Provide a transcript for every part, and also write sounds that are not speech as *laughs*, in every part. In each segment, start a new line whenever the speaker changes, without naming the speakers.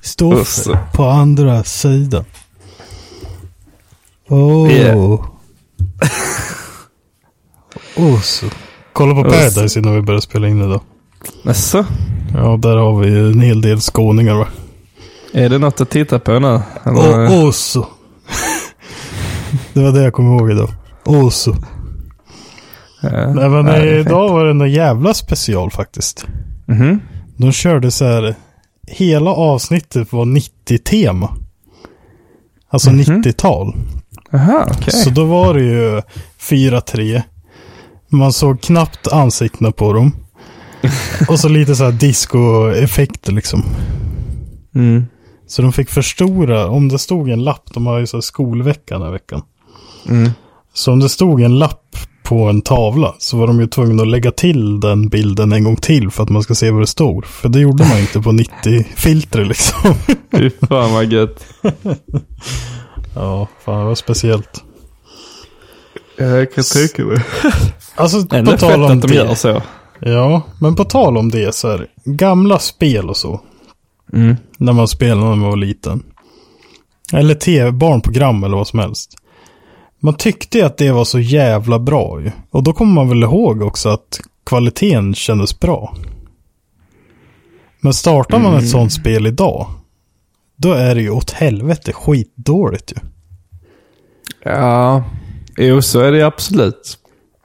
Stoffe
Osso.
på andra sidan. Åh.
Yeah.
*laughs* Osso. Kolla på Paradise innan vi börjar spela in idag.
Jaså?
Ja, där har vi ju en hel del skåningar va.
Är det något att titta på nu? Eller?
Och Osso. *laughs* det var det jag kom ihåg idag. Osso.
Ja.
Nej men
Ja, det är
idag var det en jävla special faktiskt.
fint. Mhm.
De körde så här. Hela avsnittet var 90-tema. Alltså 90-tal.
Aha, okej.
Så då var det ju 4-3. Man såg knappt ansiktena på dem. Och så lite så här disco-effekter liksom.
Mm.
Så de fick förstora, om det stod en lapp, de har ju så här skolvecka den här veckan.
Mm.
Så om det stod en lapp på en tavla så var de ju tvungna att lägga till den bilden en gång till för att man ska se vad det stod. För det gjorde man inte på 90-filter liksom.
Fy fan vad gött.
Ja, fan det var speciellt.
Jag kan tänka mig.
Alltså
Ändå
på tal
fett
om
att de
det.
gör så.
Ja, men på tal om det så här. Gamla spel och så.
Mm.
När man spelade när man var liten. Eller tv, barnprogram eller vad som helst. Man tyckte ju att det var så jävla bra ju. Och då kommer man väl ihåg också att kvaliteten kändes bra. Men startar man
Mm.
ett sånt spel idag. Då är det ju åt helvete skitdåligt ju.
Ja. Jo, så är det absolut.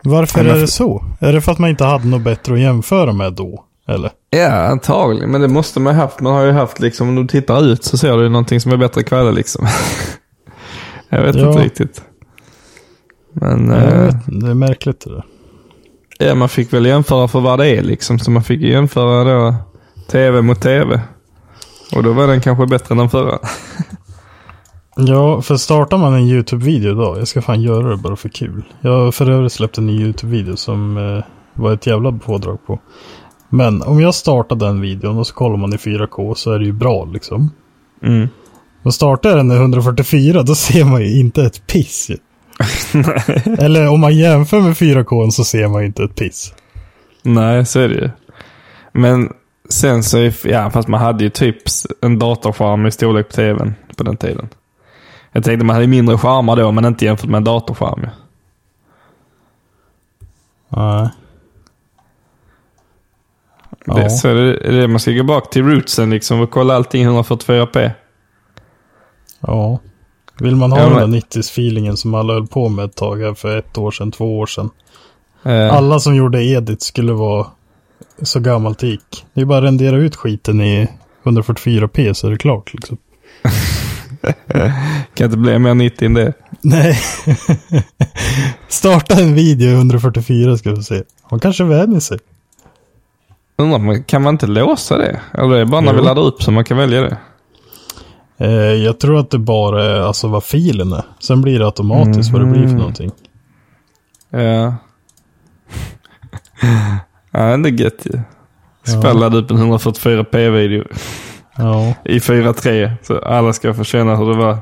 Varför
Ja, men
är det
för-
så? Är det för att man inte hade något bättre att jämföra med då? Eller?
Ja, antagligen. Men det måste man ha haft. Man har ju haft liksom, om du tittar ut så ser du någonting som är bättre kväll liksom. *laughs* jag vet
Ja.
inte riktigt. Men,
Jag
eh,
vet inte, Det är märkligt det där.
ja, man fick väl jämföra för vad det är liksom. Så man fick ju jämföra då tv mot tv. Och då var den kanske bättre än den förra.
Ja, för startar man en YouTube-video idag, jag ska fan göra det bara för kul. Jag har för övrigt släppt en ny YouTube-video som eh, var ett jävla pådrag på. Men om jag startar den videon och så kollar man i 4K så är det ju bra liksom.
Mm.
Men startar jag den i 144 då ser man ju inte ett piss. ju. Eller om man jämför med 4K så ser man ju inte ett piss.
Nej, så är det ju. Men sen så, är- ja fast man hade ju typ en datorskärm i storlek på tvn på den tiden. Jag tänkte man hade mindre skärmar då, men inte jämfört med en datorskärm ju.
Nej.
Det,
Ja.
Så är det, är det, man ska gå bak till rootsen liksom och kolla allting 144p.
Ja. Vill man ha
Ja,
den
men-
där 90s-feelingen som alla höll på med ett tag här för ett år sedan, två år sedan.
Eh,
Alla som gjorde Edit skulle vara så gammalt det gick. Det är bara att rendera ut skiten i 144p så är det klart liksom.
kan inte bli mer 90 än det.
Nej. *laughs* Starta en video i 144 ska vi se. Man kanske vänjer sig.
Undrar, om man- kan man inte låsa det? Eller är det bara när vi
Jo.
laddar upp som man kan välja det?
Eh, jag tror att det bara är alltså vad filen är. Sen blir det automatiskt vad det blir
Mhm.
för någonting.
Ja. *laughs* ja, det är gött ju. Spelade upp en 144p-video.
Ja.
i 4-3. Så alla ska få känna hur det var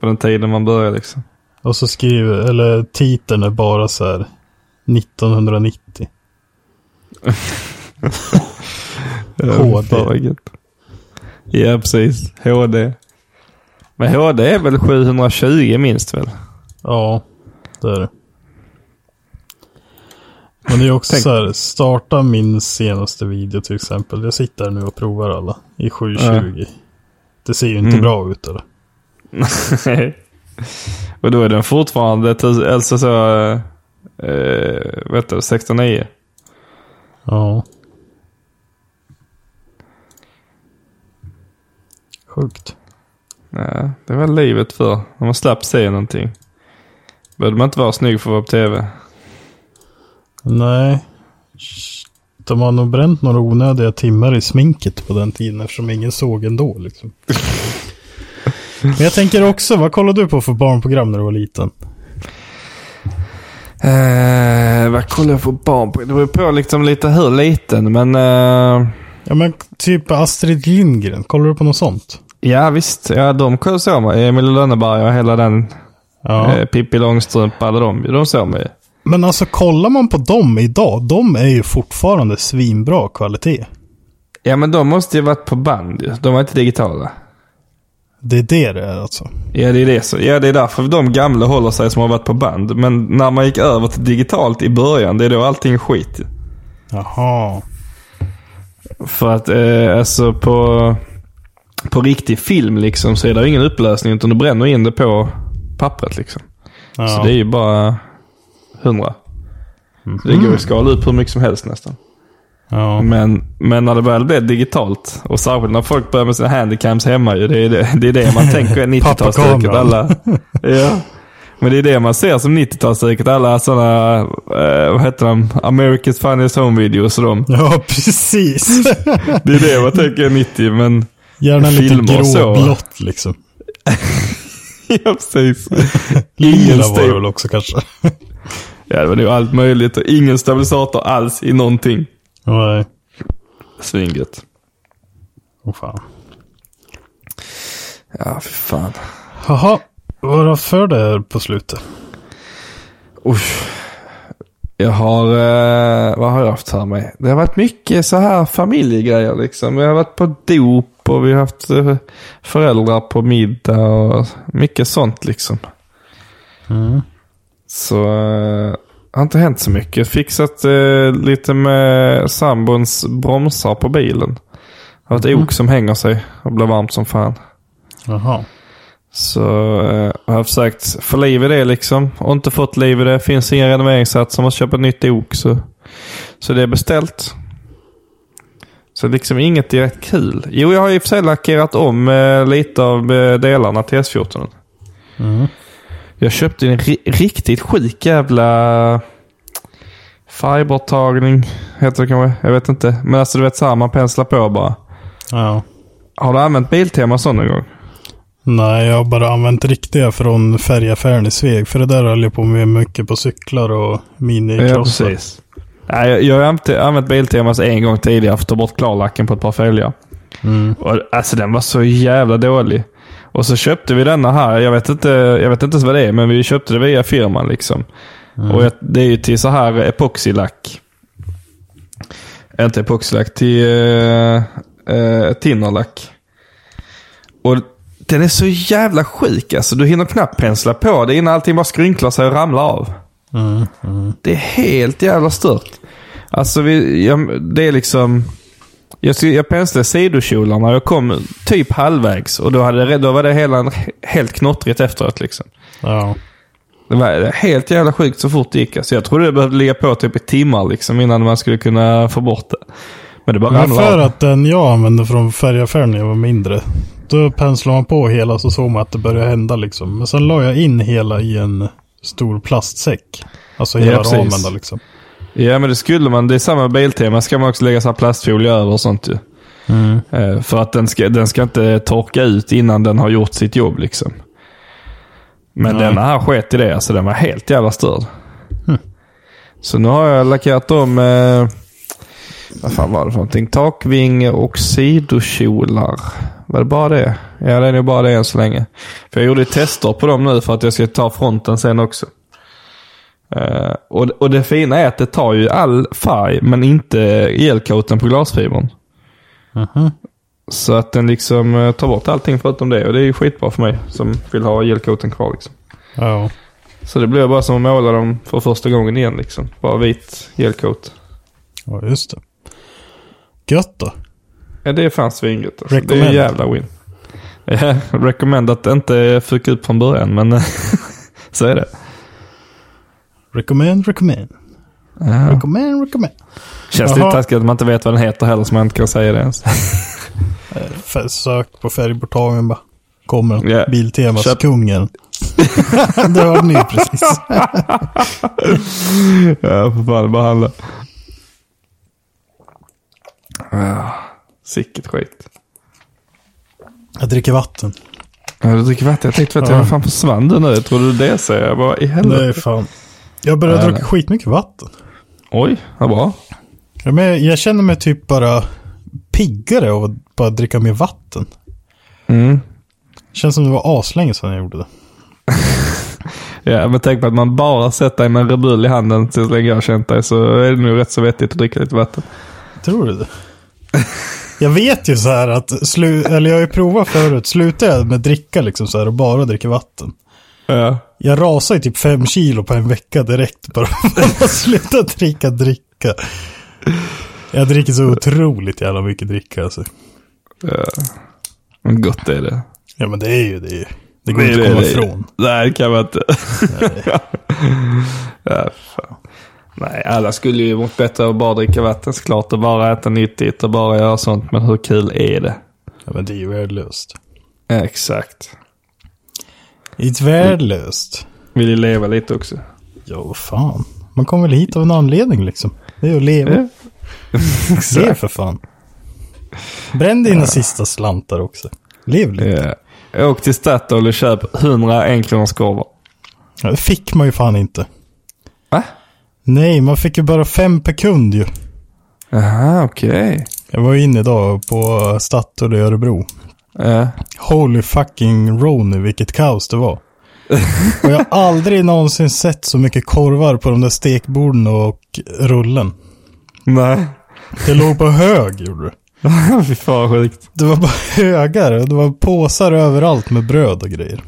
på den tiden man började liksom.
Och så skriver, eller titeln är bara så här 1990. HD.
Fan, vad gött. Ja, precis. HD. Men HD är väl 720 minst väl?
Ja, det är det. Men det är också
Tänk-
så här, starta min senaste video till exempel. Jag sitter här nu och provar alla i 720. Det ser ju inte
Mm.
bra ut eller?
Och då är den fortfarande tus- alltså så, eh, eh, vet du, 16,9.
Ja. Sjukt.
Nej, det var livet för När man slapp se någonting. Behövde man inte vara snygg för att vara på TV.
Nej. De har nog bränt några onödiga timmar i sminket på den tiden eftersom ingen såg ändå. Liksom.
*laughs*
Men jag tänker också, vad kollade du på för barnprogram när du var liten?
Eh, vad kollar jag på barn på? Det beror på liksom lite hur liten, men... Eh,
Ja men typ Astrid Lindgren, kollar du på något sånt?
ja, visst. Ja, de kollade så man. Emil i Lönneberga och hela den.
Ja.
Eh, Pippi Långstrump, alla de. De såg man ju.
Men alltså kollar man på dem idag, de är ju fortfarande svinbra kvalitet.
Ja, men de måste ju varit på band ju. De var inte digitala.
Det är det det är alltså.
Ja, det är det. Så, ja, det är därför de gamla håller sig som har varit på band. Men när man gick över till digitalt i början, det är då allting skit. ju.
Jaha.
För att eh, alltså på, på riktig film liksom så är det ju ingen upplösning utan du bränner in det på pappret liksom.
Ja. Mm.
Så det är ju bara 100. Så Det går ju att skala upp hur mycket som helst nästan.
ja.
Men, men när det väl blev digitalt och särskilt när folk börjar med sina handicams hemma ju. Det är det, det, är det man
*laughs*
tänker är 90-talsstuket.
Pappakameran.
Alla, *laughs* ja. Men det är det man ser som 90-talsstuket. Alla sådana, eh, vad heter de? America's Funniest Home-videos och de.
Ja, *laughs*
*laughs*
precis.
Det är det man tänker är 90, men...
Gärna lite
Filmer och så, va?
gråblått liksom.
Ja, precis. Ingen
Lila var det
stav-
väl också kanske.
Ja, det var ju allt möjligt och ingen stabilisator alls i någonting.
Nej.
Svingött.
Åh fan.
Ja, för fan.
Jaha, vad har du haft för det på slutet?
Usch. Jag har... Eh, vad har jag haft för mig? Det har varit mycket så här familjegrejer liksom. Vi har varit på dop och vi har haft eh, föräldrar på middag och mycket sånt liksom.
Mm,
Så... Eh, har inte hänt så mycket. Fixat eh, lite med sambons bromsar på bilen. Har ett ok som hänger sig och blir varmt som fan.
Jaha.
Så eh, jag har försökt få liv i det liksom. Och inte fått liv i det. Finns ingen renoveringssats. Man måste köpa ett nytt ok. Så, så det är beställt. Så liksom inget direkt kul. Jo, jag har i och för sig lackerat om eh, lite av eh, delarna till S14.
Mm,
Jag köpte en ri- riktigt sjuk jävla färgborttagning. Heter det kanske? Jag vet inte. Men alltså du vet så här, man penslar på bara.
Ja.
Har du använt Biltema sån någon gång?
Nej, jag har bara använt riktiga från färgaffären i Sveg. För det där höll jag på med mycket på cyklar och minikrossar.
Nej, jag, jag har använt, använt Biltemas en gång tidigare för att ta bort klarlacken på ett par fälgar.
Mm,
Och, alltså den var så jävla dålig. Och så köpte vi denna här. Jag vet inte, jag vet inte ens vad det är, men vi köpte det via firman. liksom. Och jag, Det är ju till så här epoxilack. Inte epoxilack, till eh, eh, tinnerlack. Och den är så jävla sjuk alltså. Du hinner knappt pensla på det innan allting bara skrynklar sig och ramlar av.
mm,
Det är helt jävla stört. Alltså, vi, jag, det är liksom... Jag, skulle- jag penslade sidokjolarna och jag kom typ halvvägs. Och då, hade, det- då var det hela, helt knottrigt efteråt. Liksom.
Ja.
Det var helt jävla sjukt så fort det gick. Alltså, jag trodde det behövde ligga på typ i timmar liksom, innan man skulle kunna få bort det. Men det bara
Men för
ramlade av.
att den jag använde från färgaffären när jag var mindre. Då penslade man på hela så såg man att det började hända liksom. Men sen la jag in hela i en stor plastsäck. Alltså
Ja,
hela
precis.
ramen där liksom.
Ja, men det skulle man. Det är samma biltema. Ska man också lägga så här plastfolie över och sånt ju. Eh, För att den ska, den ska inte torka ut innan den har gjort sitt jobb liksom. Men
Nej.
den här sket i det. Alltså den var helt jävla störd. Så nu har jag lackerat om... Eh, vad fan var det för någonting? Takvinge och sidokjolar. Var det bara det? Ja, det är nog bara det än så länge. För jag gjorde tester på dem nu för att jag ska ta fronten sen också. Eh, och, och det fina är att det tar ju all färg, men inte elcoaten på glasfibern. Mhm. Så att den liksom eh, tar bort allting förutom det. Och det är ju skitbra för mig som vill ha gelcoaten kvar. Liksom.
Ja.
Så det blir bara som att måla dem för första gången igen. Liksom. Bara vit gelcoat.
ja, just det. Gött då.
Ja, det är fan svinget. Alltså. Det är
Recommend.
en jävla win. Ja, *laughs* recommend att det inte fick ut från början, men *laughs* så är det.
Recommend, recommend.
Ja.
Recommend, recommend.
Känns lite
Jaha.
taskigt att man inte vet vad den heter heller, så man inte kan säga det ens.
F- Sök på färgportalen bara. Kommer den.
Ja.
Biltemas
Köp- *laughs*
kungen. det hörde ni ju precis.
Ja, för fan. Bara handla. Ja, Sicket skit.
Jag dricker vatten.
Ja, du dricker vatten. Jag tänkte att
Ja.
jag fan försvann du nu. Jag trodde du det säger jag. Vad i helvete?
Nej, fan. Jag börjar
Ja,
dricka
nej.
skitmycket vatten.
Oj, vad bra.
Ja, men jag känner mig typ bara piggare av att bara dricka mer vatten.
Mm.
Känns som det var aslänge sedan jag gjorde det.
Ja, men tänk på att man bara sett dig med en Rebul i handen så länge jag har känt dig. Så är det nog rätt så vettigt att dricka lite vatten.
Tror du det? Jag vet ju så här att, slu- eller jag har ju provat förut, slutar jag med dricka liksom så här och bara dricker vatten.
Ja.
Jag rasar ju typ fem kilo på en vecka direkt bara för att sluta dricka dricka. Jag dricker så otroligt jävla mycket dricka alltså.
ja. Men gott är det.
Ja men det är ju det. Det går inte att
är
komma ifrån.
Nej, det kan man inte. *laughs* ja, fan. Nej, alla skulle ju mått bättre av att bara dricka vatten såklart och bara äta nyttigt och bara göra sånt. Men hur kul är det?
Ja men det är ju värdelöst.
Exakt.
It's värdelöst.
Vill ju leva lite också.
Ja vad fan. Man kommer väl hit av en anledning liksom. Det är ju att *laughs* leva. Lev för fan. Bränn dina sista slantar också. Lev lite.
Ja. Åk till Statoil och köp 100 enkronorskorvar.
Ja, det fick man ju fan inte.
Va?
Nej, man fick ju bara fem per kund ju.
Jaha, okej.
Jag var ju inne idag på Statoil i Örebro.
Ja.
Holy fucking Rony, vilket kaos det var. och
*laughs*
jag har aldrig någonsin sett så mycket korvar på de där stekborden och rullen.
Nej. *laughs*
Det låg på hög, gjorde det.
Fy fan vad sjukt.
Det var bara *laughs* högar och det var påsar överallt med bröd och grejer.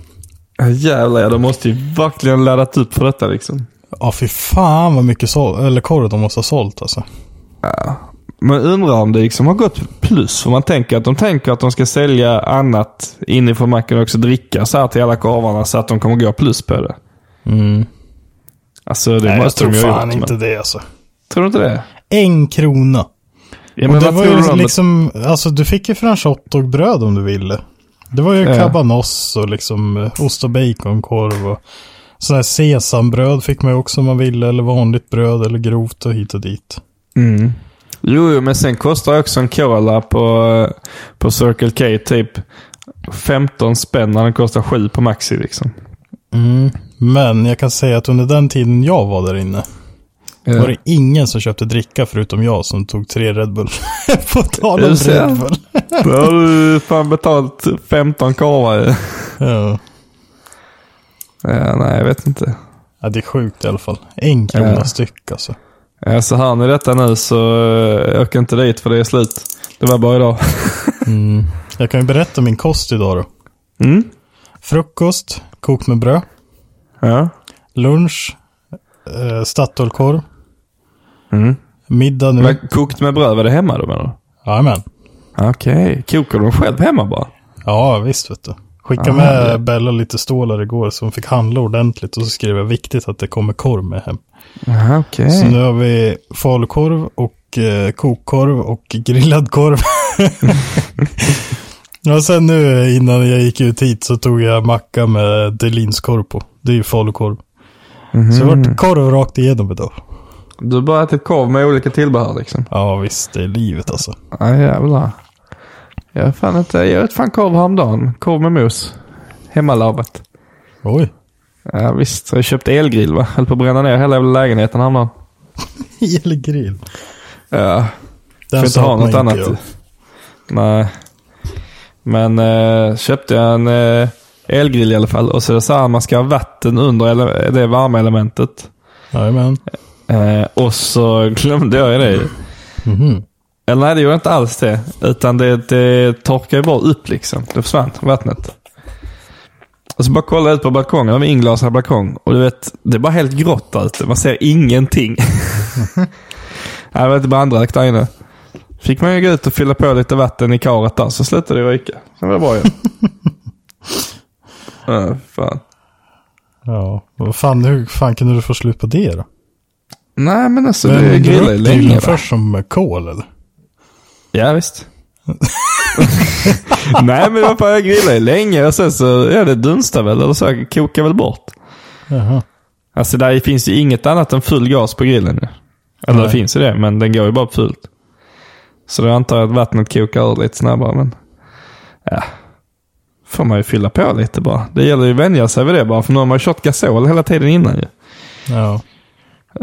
Ja, Jävlar ja, de måste ju verkligen laddat upp för detta liksom.
Ja, fy fan vad mycket sål- eller korv de måste ha sålt alltså.
Men undrar om det liksom har gått plus. För man tänker att de tänker att de ska sälja annat inifrån macken och också dricka så här till alla korvarna så att de kommer gå plus på det.
Mm.
Alltså det
Nej, jag
måste
tror
de ju ha
fan
gjort.
inte
Men...
det alltså.
Tror du inte det?
En krona.
Ja,
och
men
det
vad
var
tror du
ju
om liksom...
liksom, alltså du fick ju franchott och bröd om du ville. Det var ju
Ja.
cabanos och liksom eh, ost och baconkorv och sådär sesambröd fick man ju också om man ville. Eller vanligt bröd eller grovt och hit och dit.
mm. Jo, jo, men sen kostar också en cola på, eh, på Circle K typ 15 spänn när den kostar 7 på Maxi liksom.
Men jag kan säga att under den tiden jag var där inne
Ja.
var det ingen som köpte dricka förutom jag som tog tre Red Bull. *laughs* På tal
Är
om
det så?
Red Bull.
Då har du fan betalt 15 korvar ju.
Ja.
Ja, nej, jag vet inte.
ja, det är sjukt i alla fall. En krona
Ja.
styck alltså.
Ja, Eh, så hör ni detta nu så eh, åk inte dit för det är slut. Det var bara idag.
Mm. Jag kan ju berätta min kost idag då.
Mm?
Frukost, kokt med bröd.
Ja.
Lunch, eh, Statoilkorv.
Mm.
Middag nu.
Men kokt med bröd, var det hemma då menar du?
Jajamän.
Okej, kokar du själv hemma bara?
Ja, visst vet du. Skicka
Aha,
med
det-
Bella lite stålar igår så hon fick handla ordentligt och så skrev jag viktigt att det kommer korv med hem.
Ja, okej.
Så nu har vi falukorv och eh, kokkorv och grillad
*laughs*
korv. och sen nu innan jag gick ut hit så tog jag macka med delinskorv på. Det är ju falukorv. Så det
Mhm.
vart korv rakt igenom idag.
Du har bara ätit korv med olika tillbehör liksom?
Ja visst, det är livet alltså.
Ja, jävlar. Jag, är fan inte, jag åt fan korv häromdagen. Korv med mos. Hemmalagat. *laughs*
Oj.
Ja, visst, jag köpte elgrill va? Höll på att bränna ner hela jävla lägenheten häromdagen.
Elgrill.
Ja,
Den
Får inte ha något
saknar
annat.
inte jag.
Nej. Men eh, köpte jag en eh, elgrill i alla fall. Och så är det så här, man ska ha vatten under ele- det varma elementet.
Jajamän.
Eh, och så glömde jag ju det.
Mhm.
Eller nej, det gjorde inte alls det. Utan det, det torkade ju bara upp liksom. Det försvann, vattnet. Och så bara kollade jag ut på balkongen. Jag har en inglasad balkong. Och du vet, det är bara helt grått *laughs* där ute. Man ser ingenting. Nej, det var inte brandrakt där inne. Fick man ju gå ut och fylla på lite vatten i karet där, så slutade det ryka. Sen var det bra ju. ja, fan.
Ja, vad fan, hur fan kunde du få slut på det då?
Nej, men alltså
Men
vi grillade ju
upp grillen
länge. va?
först som kol eller?
Ja, visst. *laughs* Nej, men vad fan, jag grillade ju länge och sen så, ja det dunstade väl eller så, kokade väl bort.
Jaha.
Alltså där finns ju inget annat än full gas på grillen. ju. Eller
Nej.
det finns ju det, men den går ju bara fult. Så då antar jag att vattnet kokar ur lite snabbare, men... Ja. Får man ju fylla på lite bara. Det gäller ju att vänja sig vid det bara, för nu har man ju kört gasol hela tiden innan ju.
Ja.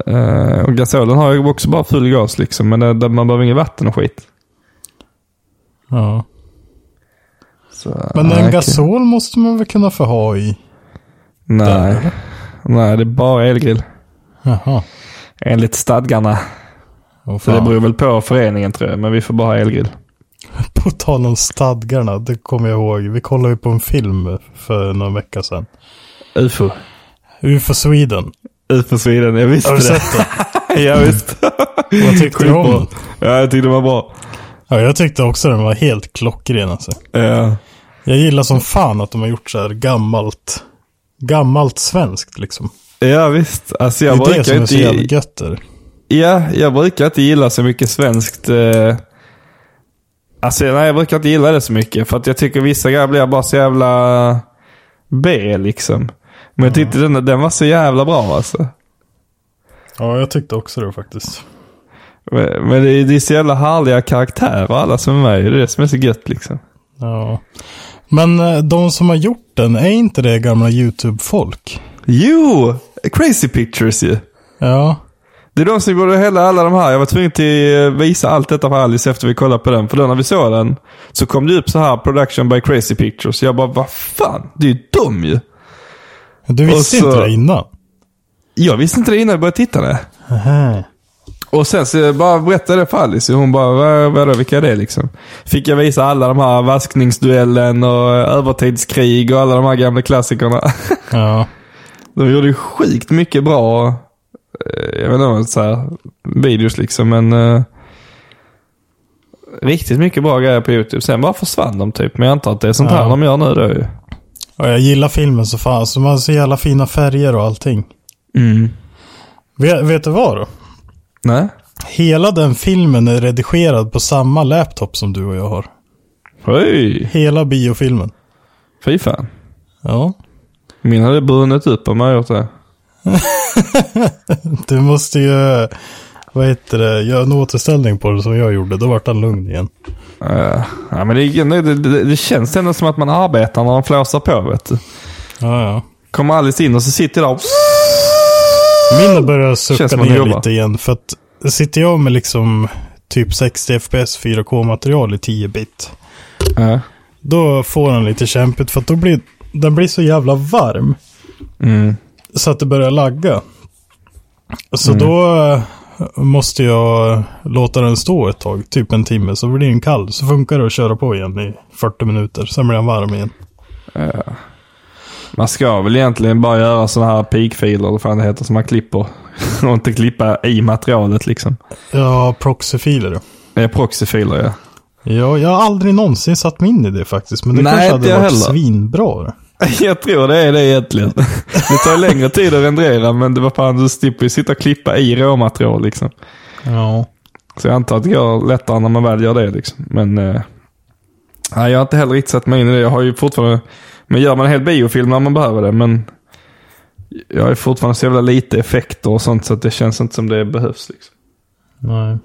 Eh, och gasolen har ju också bara full gas liksom, men det, det, man behöver inget vatten och skit.
ja.
Så,
Men
nej,
en
Ah, okej.
gasol måste man väl kunna få ha i?
Nej. Nej, det är bara elgrill.
Jaha.
Enligt stadgarna.
Åh,
Så det
fan.
beror väl på föreningen tror jag, men vi får bara ha elgrill.
På tal om stadgarna, det kommer jag ihåg. Vi kollade ju på en film för någon vecka sedan.
UFO.
UFO Sweden.
UFO Sweden, jag visste
Har du
det.
sett *laughs* den?
ja, visst.
Vad tyckte du om
Skitbra.
den?
Ja, jag tyckte det var bra.
Ja, jag tyckte också den var helt klockren alltså.
Ja.
Jag gillar som fan att de har gjort så här gammalt, gammalt svenskt liksom.
Ja visst,
Det
alltså jag
är det
brukar,
som är så jävla
inte,
gött där.
ja, jag brukar inte gilla så mycket svenskt. Eh, alltså nej, jag brukar inte gilla det så mycket. För att jag tycker vissa grejer blir bara så jävla B liksom. Men jag tyckte den, den var så jävla bra alltså.
Ja, jag tyckte också det faktiskt.
Men men det är, det är så jävla härliga karaktärer alla som är med. Det är det som är så gött liksom.
Ja. Men eh, de som har gjort den, är inte det gamla YouTube-folk?
Jo! Crazy Pictures ju.
Ja.
Det är de som gjorde hela alla de här. Jag var tvungen till eh, visa allt detta för Alice efter vi kollade på den. För då när vi såg den så kom det upp så här production by Crazy Pictures. Jag bara, vad fan? Det är ju dum ju.
Du visste
Och så-
inte det innan?
Jag visste inte det innan jag började titta det.
Aha.
Och sen så jag bara berättade jag det för Alice. och Hon bara, vad, vadå, vilka är det liksom? Fick jag visa alla de här vaskningsduellen och eh, övertidskrig och alla de här gamla klassikerna. *laughs*
Ja.
De gjorde ju sjukt mycket bra, eh, jag vet inte vad så här, videos liksom, men eh, riktigt mycket bra grejer på YouTube. Sen bara försvann de typ, men jag antar att det är sånt här
Ja.
de gör nu då ju.
Och jag gillar filmen så fan. Så man har så jävla fina färger och allting. Vet, vet du vad då?
Nej?
Hela den filmen är redigerad på samma laptop som du och jag har.
Oj,
Hela biofilmen.
fy fan.
Ja.
Min hade brunnit upp om jag gjort det.
Du måste ju, vad heter det, göra en återställning på det som jag gjorde. Då vart han lugn igen.
Eh, ja, men det, är- det, det, det känns ändå som att man arbetar när man flåsar på vet du.
Ja, ja.
Kommer Alice in och så sitter jag där och...
Mina börjar
Känns
sucka
som att
ner
jobba.
lite igen. För att sitter jag med liksom typ 60 FPS 4K-material i 10 bit.
Ja.
Då får den lite kämpigt för att då blir den blir så jävla varm.
Mm.
Så att det börjar lagga. Så
Mm.
då eh, måste jag låta den stå ett tag, typ en timme. Så blir den kall. Så funkar det att köra på igen i 40 minuter. Sen blir den varm igen.
Man ska väl egentligen bara göra sådana här peakfiler, eller vad det heter, som man klipper. *laughs* och inte klippa i materialet liksom.
Ja, proxyfiler.
Eh, proxyfiler ja. *laughs*
Ja, jag har aldrig någonsin satt mig in i det faktiskt. Men det
Nej,
kanske
inte
hade
jag
varit
heller.
svinbra.
Jag tror det är det egentligen. *laughs* Det tar ju längre tid att rendera, men det var fan, du slipper ju sitta och klippa i råmaterial liksom.
Ja.
Så jag antar att det går lättare när man väl gör det liksom. Men... Eh, nej, jag har inte heller riktigt satt mig in i det. Jag har ju fortfarande... Men gör man en hel biofilm när man behöver det, men... Jag har fortfarande så jävla lite effekter och sånt, så att det känns inte som det behövs liksom. *laughs*
Nej.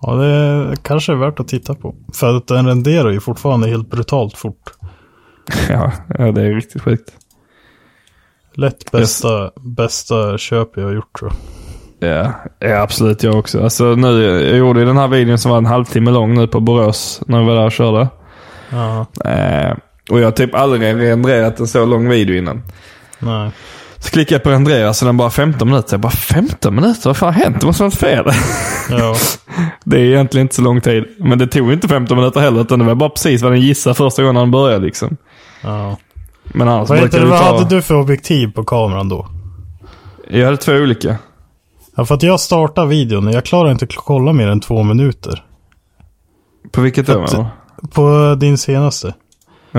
Ja, det kanske är värt att titta på. För att den renderar ju fortfarande helt brutalt fort.
Ja, ja, det är riktigt sjukt.
Lätt bästa, bästa köp jag har gjort tror jag.
Ja, ja absolut jag också. Alltså, nu, jag gjorde ju den här videon som var en halvtimme lång nu på Borås när vi var där och körde.
Ja,
Eh, och jag har typ aldrig renderat en så lång video innan.
nej.
Så klickade jag på rendera så den bara 15 minuter. Jag bara 15 minuter? Vad fan har hänt? Det måste ha varit fel. *laughs*
Ja,
Det är egentligen inte så lång tid. Men det tog inte 15 minuter heller. Utan det var bara precis vad den gissade första gången den började liksom.
ja.
Men annars
Vad, heter, det-
brukar det
vad
ta...
hade du för objektiv på kameran då?
Jag hade två olika.
Ja, för att jag startar videon och jag klarar inte att kolla mer än två minuter.
På vilket då?
Att-
menar
På din senaste.
du?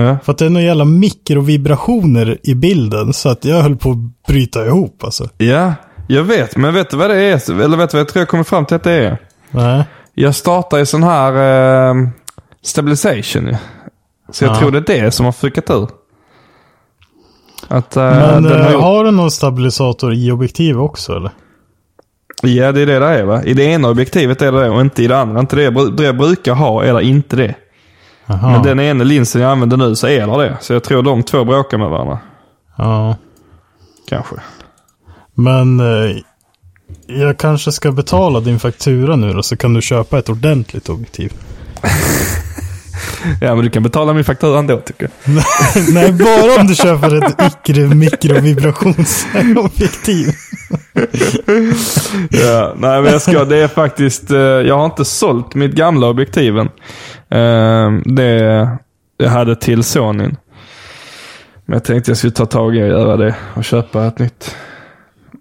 Ja.
För att det är några jävla mikrovibrationer i bilden så att jag höll på att bryta ihop alltså.
ja, jag vet. Men vet du vad det är? Eller vet du vad jag tror jag kommer fram till att det är?
Nej.
Jag startar i sån här eh, stabilisation ju. Så jag
Ja.
tror det är det som har fuckat ur. Att eh,
Men
den
eh,
har
har,
gjort...
du någon stabilisator i objektiv också eller?
Ja, det är det det är va? I det ena objektivet är det det och inte i det andra. Inte det, jag bru- det jag brukar ha eller inte det.
Aha.
Men den ena linsen jag använder nu så är det det. Så jag tror de två bråkar med varandra.
Ja.
Kanske.
Men eh, jag kanske ska betala din faktura nu då så kan du köpa ett ordentligt objektiv. *laughs*
Ja, men du kan betala min faktura ändå tycker jag.
Nej, bara om du köper ett icke mikrovibrationsobjektiv.
Ja, nej men jag ska, det är faktiskt, eh, jag har inte sålt mitt gamla objektiven. Eh, Det jag hade till Sonyn. Men jag tänkte jag skulle ta tag i och göra det och köpa ett nytt.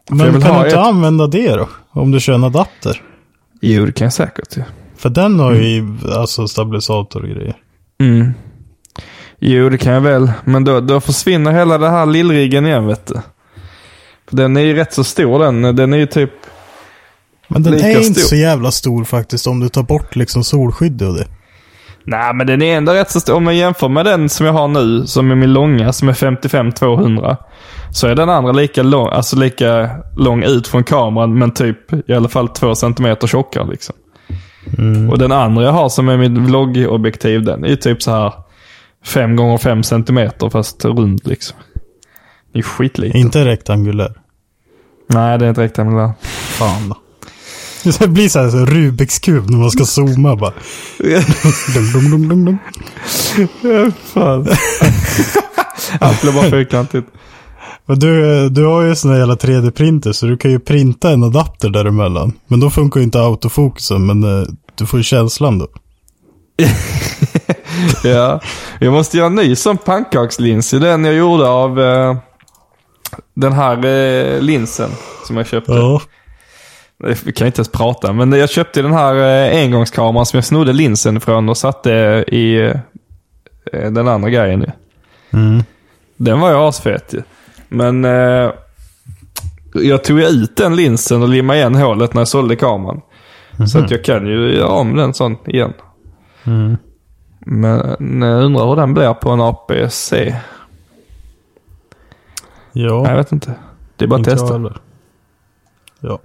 jag
Men
vill
kan
ha
du inte
ett.
använda det då? Om du kör en adapter?
Jo, det kan jag säkert ju.
För den har ju alltså stabilisator och grejer.
Mm. Jo, det kan jag väl. Men då, då försvinner hela den här lillriggen igen vet du. För den är ju rätt så stor den. Den är ju typ
Men den
Lika
är inte
stor.
så jävla stor faktiskt om du tar bort liksom solskydd och det.
Nej, men den är ändå rätt så stor. Om jag jämför med den som jag har nu, som är min långa, som är 55-200. Så är den andra lika lång, alltså lika lång ut från kameran, men typ i alla fall två centimeter tjockare. Liksom. Och den andra jag har som är mitt vloggobjektiv, den är ju typ så här 5 gånger 5 centimeter fast rund liksom. Det är skitliten.
Inte rektangulär.
Nej, det är inte rektangulär.
Fan då. *laughs* Det blir så här, så här Rubiks kub när man ska zooma bara. Dum, dum, dum, dum, dum.
Fan. Allt blir bara fyrkantigt.
Men du, du har ju såna jävla 3D-printer så du kan ju printa en adapter däremellan. Men då funkar ju inte autofokusen men eh, du får ju känslan då.
*laughs* Ja, jag måste göra en ny sån pannkakslins. i Den jag gjorde av eh, den här eh, linsen som jag köpte.
Ja.
Vi kan inte ens prata, men jag köpte den här eh, engångskameran som jag snodde linsen från och satte i eh, den andra grejen. ju.
Mm.
Den var ju asfet ju. Men eh, jag tog ju ut den linsen och limmade igen hålet när jag sålde kameran. Så
Mhm.
att jag kan ju göra om den sån igen.
Mm.
Men jag undrar hur den blir på en APC.
Ja.
Nej, jag vet inte. Det är bara att
Inte jag
testa.
heller. Ja.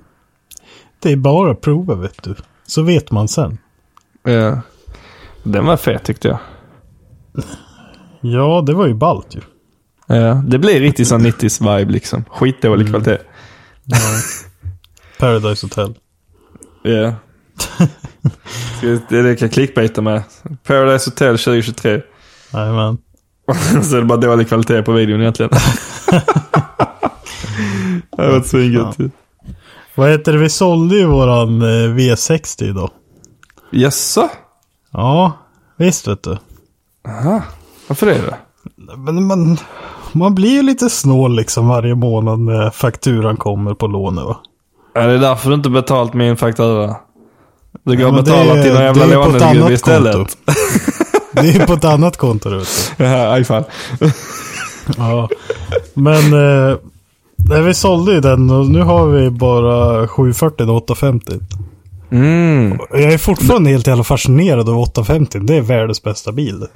Det är bara att prova vet du. Så vet man sen.
Ja. Den var fet tyckte jag.
Ja, det var ju ballt ju.
Ja. Det blir riktigt sån 90s-vibe liksom.
Mm.
Skitdålig kvalitet.
*laughs* Paradise Hotel.
Ja. Ska vi- Det är det jag kan clickbaita med. Paradise Hotel 2023.
Jajamän.
*laughs* Så är det bara dålig kvalitet på
*laughs*
videon egentligen. det har varit svingött ju.
Vad heter det? Vi sålde ju våran eh, V60 idag.
Jaså?
Ja, visst vet du.
Aha. Varför är det?
Men man, man blir ju lite snål liksom varje månad när fakturan kommer på lånet va.
Ja, det är därför du inte betalt min faktura. Du går och
Men det
betalar
är-
till någon jävla
det är på ett
lånegubbe
annat
istället.
konto. Det är på ett annat konto du vet.
*laughs* Ja, i fall.
Ja. Men eh, nej, vi sålde ju den och nu har vi bara 740 och 850.
Mm.
Och Jag är fortfarande helt jävla fascinerad av 850. Det är världens bästa bil.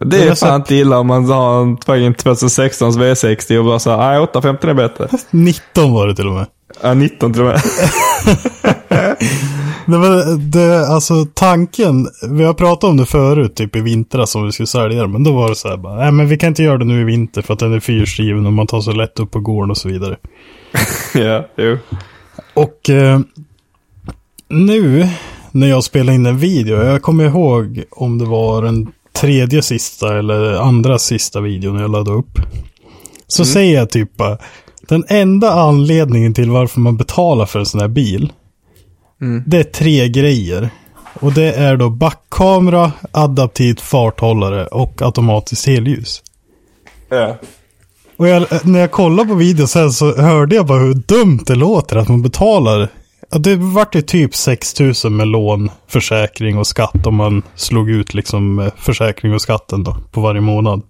Det
Men
är
jag
fan inte illa om man har en fucking 2016 V60 och bara såhär, nej 850 är bättre.
19 var det till och med.
Ja, 19 till och med.
Nej, men det, alltså tanken, vi har pratat om det förut, typ i vintras som vi skulle sälja den. Men då var det så här bara, nej men vi kan inte göra det nu i vinter för att den är fyrstriven och man tar så lätt upp på gården och så vidare.
*laughs* ja, jo.
Och eh, nu när jag spelar in en video, jag kommer ihåg om det var den tredje sista eller andra sista videon jag laddade upp. Så säger jag typ bara, den enda anledningen till varför man betalar för en sån här bil, det är tre grejer. Och det är då backkamera, adaptivt farthållare och automatiskt helljus.
Ja.
Och jag, när jag kollade på videon sen så hörde jag bara hur dumt det låter att man betalar. Ja, Det vart ju typ 6 000 med lån, försäkring och skatt om man slog ut liksom eh, försäkring och skatten då på varje månad.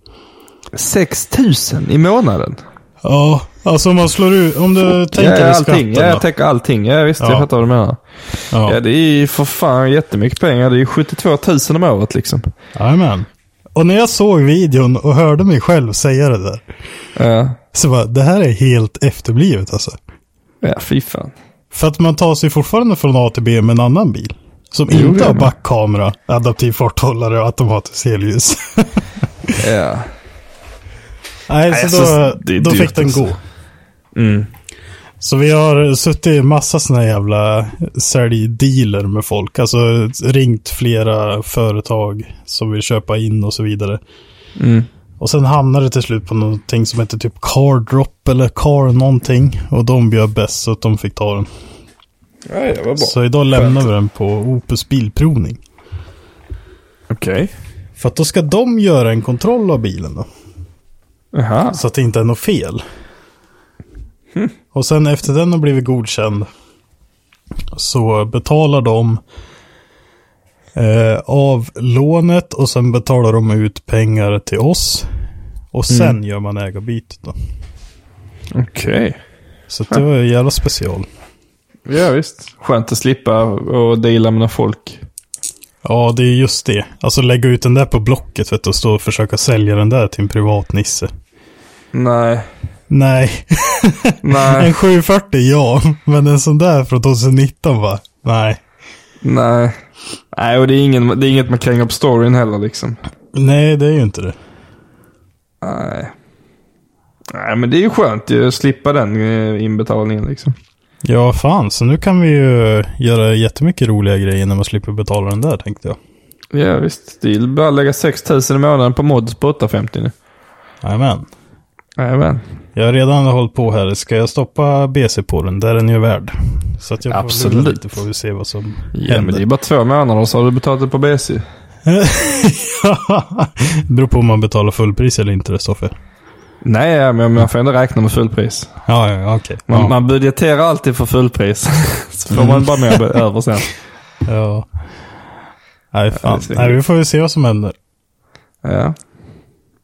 6 000 i månaden?
Ja, alltså om man slår ut, om du tänker
ja,
dig
allting.
skatten
Ja, jag
då.
täcker allting. Ja, visst, jag
Ja.
fattar vad du menar. Ja.
Ja,
det är ju för fan jättemycket pengar. Det är ju 72 000 om året liksom.
jajamän. Och när jag såg videon och hörde mig själv säga det där.
Ja,
Så bara, det här är helt efterblivet alltså.
ja fy fan.
För att man tar sig fortfarande från A till B med en annan bil. Som
Jo, det
inte
är
har
det.
backkamera, adaptiv farthållare och automatiskt helljus.
Ja.
*laughs* Nej,
Nej,
så då,
alltså, det är
då
dyrt
fick den
alltså.
gå.
Mm.
Så vi har suttit i massa sådana jävla säljdealer med folk. Alltså ringt flera företag som vill köpa in och så vidare.
Mm.
Och sen hamnar det till slut på någonting som heter typ Car Drop eller Car någonting. Och de bjöd bäst så att de fick ta den.
Ja, det var
Så idag lämnar vi den på Opus Bilprovning.
Okej.
För att då ska de göra en kontroll av bilen då.
Jaha.
Så att det inte är något fel. Och sen efter den har blivit godkänd. Så betalar de eh, av lånet och sen betalar de ut pengar till oss. Och sen gör man ägarbytet då.
Okej.
Så att det var ju jävla special.
Ja, visst. Skönt att slippa och deala med några folk.
Ja, det är just det. Alltså lägga ut den där på Blocket vet du, och stå och försöka sälja den där till en privat nisse.
Nej.
Nej, en
Nej.
740 ja, men en sån där från 2019 va? Nej.
*laughs* Nej. Nej, och det är, ingen, det är inget man kränger på storyn heller liksom.
Nej, det är ju inte det.
Nej. Nej, men det är ju skönt ju att slippa den eh, inbetalningen liksom.
Ja, fan. Så nu kan vi ju göra jättemycket roliga grejer när man slipper betala den där, tänkte jag.
Ja, visst. Det är bara att lägga 6 000 i månaden på mods på 850 nu.
Jajamän.
Jajamän.
Jag har redan hållit på här. Ska jag stoppa BC på den? Där är den ju värd. Så att jag får
Absolut.
lura lite får vi se vad som
Ja, men det
händer.
är bara två månader så har du betalat det på BC.
*laughs* Beror på om man betalar fullpris eller inte, Stoffe.
Nej, ja, men man får ändå räkna med fullpris.
Ja, ja, okej.
Man,
Ja.
man budgeterar alltid för fullpris. *laughs* så får man bara *laughs* mer över sen.
Ja. Nej, fan.
det är
Nej, vi får ju se vad som händer.
Ja.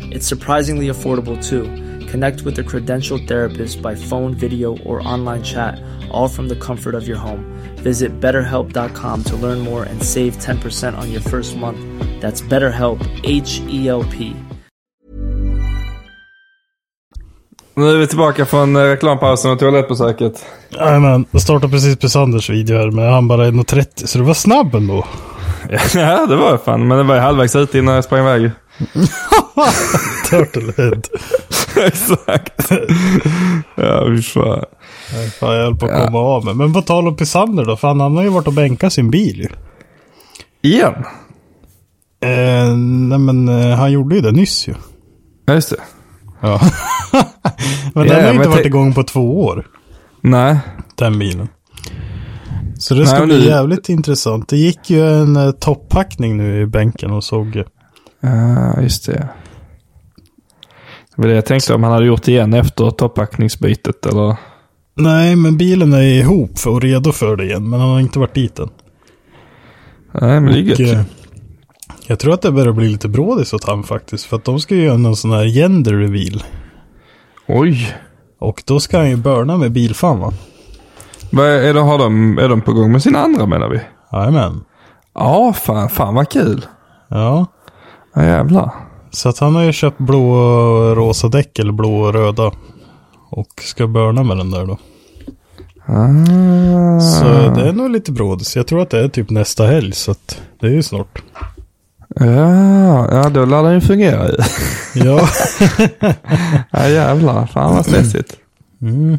It's surprisingly affordable too. Connect with a credentialed therapist by phone, video, or online chat, all from the comfort of your home. Visit betterhelp.com to learn more and save 10% on your first month. That's BetterHelp, H E L P.
Nu är vi tillbaka från eh, reklampausen och toalettbesöket.
Nej, men jag startade precis på Sanders video här, men han bara 1.30, så det var snabb ändå.
*laughs*
*laughs*
Ja, det var jag fan. Men det var ju halvvägs ute innan jag sprang iväg.
Turtlehead.
*laughs* Exakt. ja, fy fan.
Nej, Fan, jag höll på att komma av mig. Men på tal om Pisander då, fan han har ju varit och bänkat sin bil ju.
Igen?
Eh, nej men eh, han gjorde ju det nyss ju.
Ja, just det.
Ja. *laughs* men den
Ja,
har ju
men
inte varit
tänk-
igång på två år,
Nej.
den bilen. Så det ska
Nej, men
bli
det-
jävligt intressant. Det gick ju en eh, topphackning nu i bänken och såg ju.
Ja, just det. Det var det jag tänkte om han hade gjort igen efter toppackningsbytet eller?
Nej, men bilen är ihop för- och redo för det igen, men han har inte varit dit än.
Nej, men det är
Och,
gött.
eh, Jag tror att det börjar bli lite brådis åt han faktiskt. För att de ska ju göra någon sån här gender reveal.
Oj.
Och då ska han ju börna med bilfan va?
Vad är, är, de, har de, är de på gång med sin andra menar vi?
Jajamän.
Ja, fan, fan vad kul.
Ja.
Ja, jävlar.
Så att han har ju köpt blå och rosa däck eller blå och röda. Och ska börna med den där då.
Ah.
Så det är nog lite brådis. Jag tror att det är typ nästa helg så att det är ju snart.
Ja, ja, då lär den ju fungera ju.
*laughs* Ja.
Ja, jävlar. Fan vad stressigt.
Mm.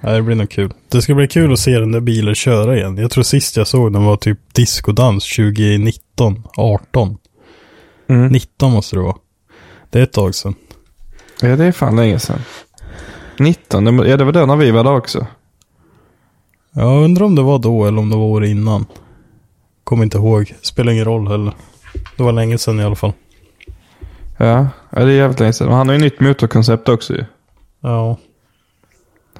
Ja, det blir nog kul. Det ska bli kul att se den där bilen köra igen. Jag tror sist jag såg den var typ diskodans 2019, 18.
Mm.
19 måste det vara. Det är ett tag sedan.
Mm. Ja, det är fan länge sedan. 19, det må- ja det var då när vi var där också.
Jag undrar om det var då eller om det var år innan. Kommer inte ihåg. Spelar ingen roll heller. Det var länge sedan i alla fall.
Ja, ja det är jävligt länge sedan. Men han har ju nytt motorkoncept också ju.
Ja.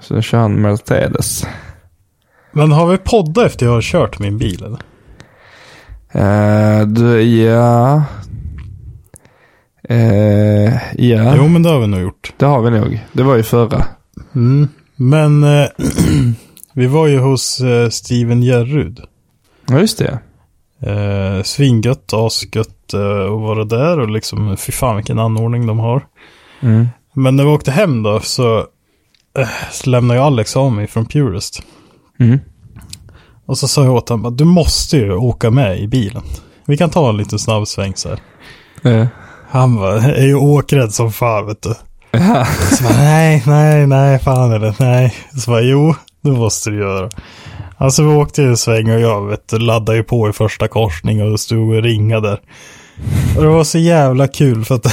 Så nu kör han Mercedes.
Men har vi poddat efter jag har kört min bil eller?
Eh, du, ja. Eh, ja,
Jo men det har vi nog gjort.
det har vi nog. Det var ju förra.
Mm. Men eh, *clears throat* vi var ju hos eh, Steven Gerrud.
Ja, just det.
Eh, svingött, asgött eh, att vara där och liksom fy fan vilken anordning de har.
Mm.
Men när vi åkte hem då så, eh, så lämnade jag Alex av mig från Purist.
Mm.
Och så sa jag åt honom att du måste ju åka med i bilen. Vi kan ta en liten snabb sväng så här.
Eh,
Han bara, är ju åkrädd som fan vet du.
Ja.
Så bara, nej, nej, nej, fan eller nej. Så bara, jo, det måste du göra. Alltså vi åkte ju en sväng och jag vet, du, laddade ju på i första korsning och stod och ringade där. Och det var så jävla kul för att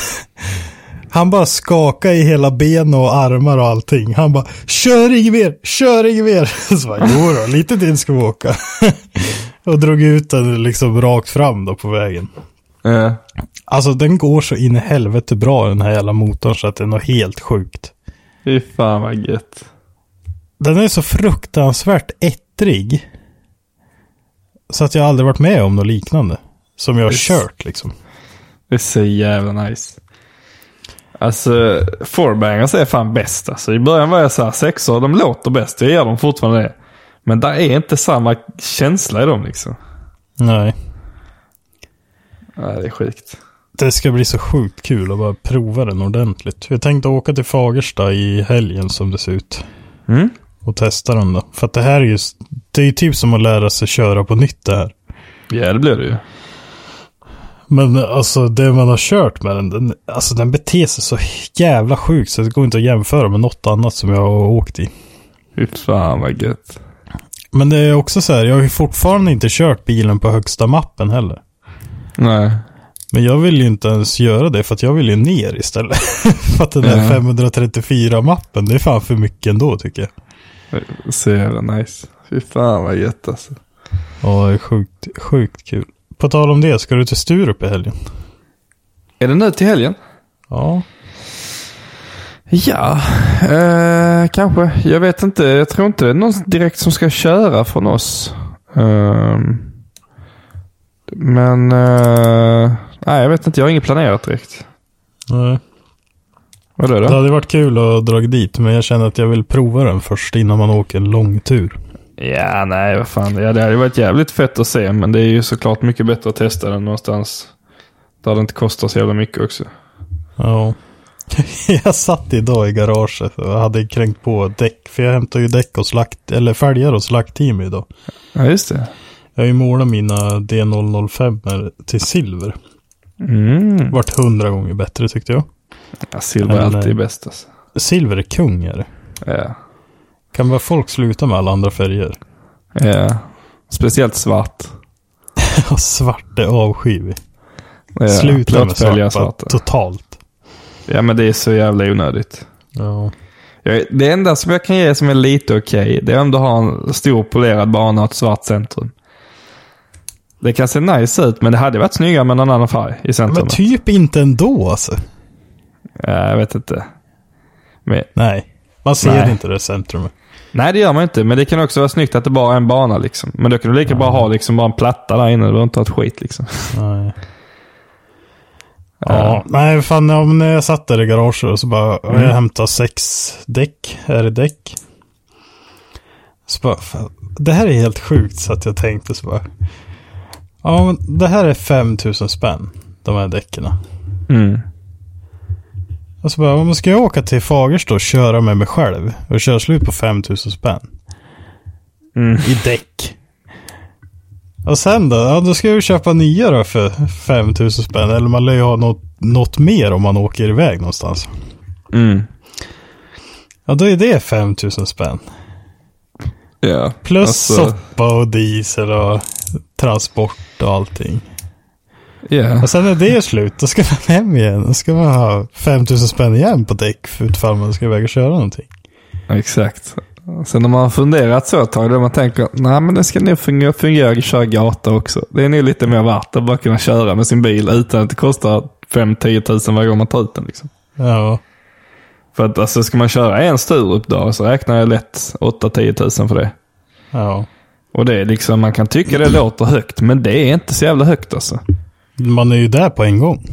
*laughs* han bara skakade i hela ben och armar och allting. Han bara, kör inget mer, kör inget mer. *laughs* Så bara, jo då, lite till ska vi åka. *laughs* Och drog ut den liksom rakt fram då på vägen.
Eh,
Alltså den går så in i helvete bra den här jävla motorn så att den är något helt sjukt.
Fy fan vad gött.
Den är så fruktansvärt ettrig. Så att jag aldrig varit med om något liknande. Som jag har
Yes.
kört liksom.
Det är så jävla nice. Alltså, forbangers är fan bäst. Alltså, I början var jag så här sexor, de låter bäst. Jag ger dem fortfarande det. Men där är inte samma känsla i dem liksom.
Nej.
Nej, det är sjukt.
Det ska bli så sjukt kul att bara prova den ordentligt. Jag tänkte åka till Fagersta i helgen som det ser ut.
Mm.
Och testa den då. För att det här är ju, det är ju typ som att lära sig köra på nytt det här.
Ja, det blir det ju.
Men alltså det man har kört med den, den, alltså den beter sig så jävla sjukt så det går inte att jämföra med något annat som jag har åkt i.
Fy fan vad gött.
Men det är också så här, jag har ju fortfarande inte kört bilen på högsta mappen heller.
Nej.
Men jag vill ju inte ens göra det för att jag vill ju ner istället. *laughs* för att den där
Ja.
534-mappen, det är fan för mycket ändå tycker jag.
Så jävla nice. Fy fan vad gött alltså.
Ja, det är sjukt, sjukt kul. På tal om det, ska du till Sturup i helgen?
Är det nu till helgen?
Ja.
Ja, eh, kanske. Jag vet inte. Jag tror inte det är någon direkt som ska köra från oss. Ehm, men... Eh, nej, jag vet inte. Jag har inget planerat direkt.
Nej.
Vad är det
Det
då?
hade varit kul att dra dit, men jag känner att jag vill prova den först innan man åker en lång tur.
Ja, nej, vad fan. Ja, det hade varit jävligt fett att se, men det är ju såklart mycket bättre att testa den någonstans. Där det inte kostar så jävla mycket också.
Ja. *laughs* Jag satt idag i garaget och hade kränkt på däck. För jag hämtar ju däck och slakt, eller fälgar och slaktteam idag.
Ja, just det.
Jag har ju målat mina D005 till silver.
Mm.
Vart hundra gånger bättre tyckte jag.
Ja, silver är
Men,
alltid
eh,
bäst alltså.
Silver är kung är det.
Ja.
Kan bara folk sluta med alla andra färger? *laughs*
ja. Eh, Speciellt svart.
Ja, svart är avskyvig.
Ja.
Sluta
Låt
med
välja
svarta,
svarta.
totalt.
Eh, Ja, men det är så jävla onödigt.
Ja.
Jag- Det enda som jag kan ge som är lite okej, det är om du har en stor polerad bana och ett svart centrum. Det kan se nice ut, men det hade varit snyggare med någon annan färg i
Men
centrum.
typ inte ändå alltså.
ja, jag vet inte. Men,
Nej. Man ser
Nej.
inte det centrumet.
nej, det gör man inte, men det kan också vara snyggt att det bara är en bana. Liksom. Men då kan du lika bra ha liksom, bara en platta där inne. Du behöver inte ha ett skit. Liksom.
Nej. Ja, nej fan om när jag satt där i garaget och så bara, jag hämtade sex däck, är det däck? Så bara, fan, det här är helt sjukt så att jag tänkte så bara. Ja, men det här är 5000 spänn. De här däcken.
Mm.
Och så Alltså, bara, men ska jag åka till Fagersta och köra med mig själv? Och köra slut på 5000 spänn.
Mm.
I däck. Och sen då? Ja, då ska jag ju köpa nya då för 5000 spänn. Eller man lär ju ha något, något mer om man åker iväg någonstans.
Mm.
Ja, då är det 5000 spänn.
Ja.
Plus
Alltså,
soppa och diesel och transport och allting.
ja.
Och sen när det är slut, då ska man hem igen. Då ska man ha 5000 spänn igen på däck för utfall man ska iväg och köra någonting.
Exakt. Sen när man har funderat så ett tag, då man tänker nej men det ska nog fungera, fungera att köra gata också. Det är nog lite mer värt att bara kunna köra med sin bil utan att det kostar 5-10 tusen varje gång man tar ut den. Liksom.
Ja,
För att alltså, ska man köra en Sturup då så räknar jag lätt 8-10 tusen för det.
ja.
Och det är liksom, man kan tycka det låter högt, men det är inte så jävla högt alltså.
Man är ju där på en gång.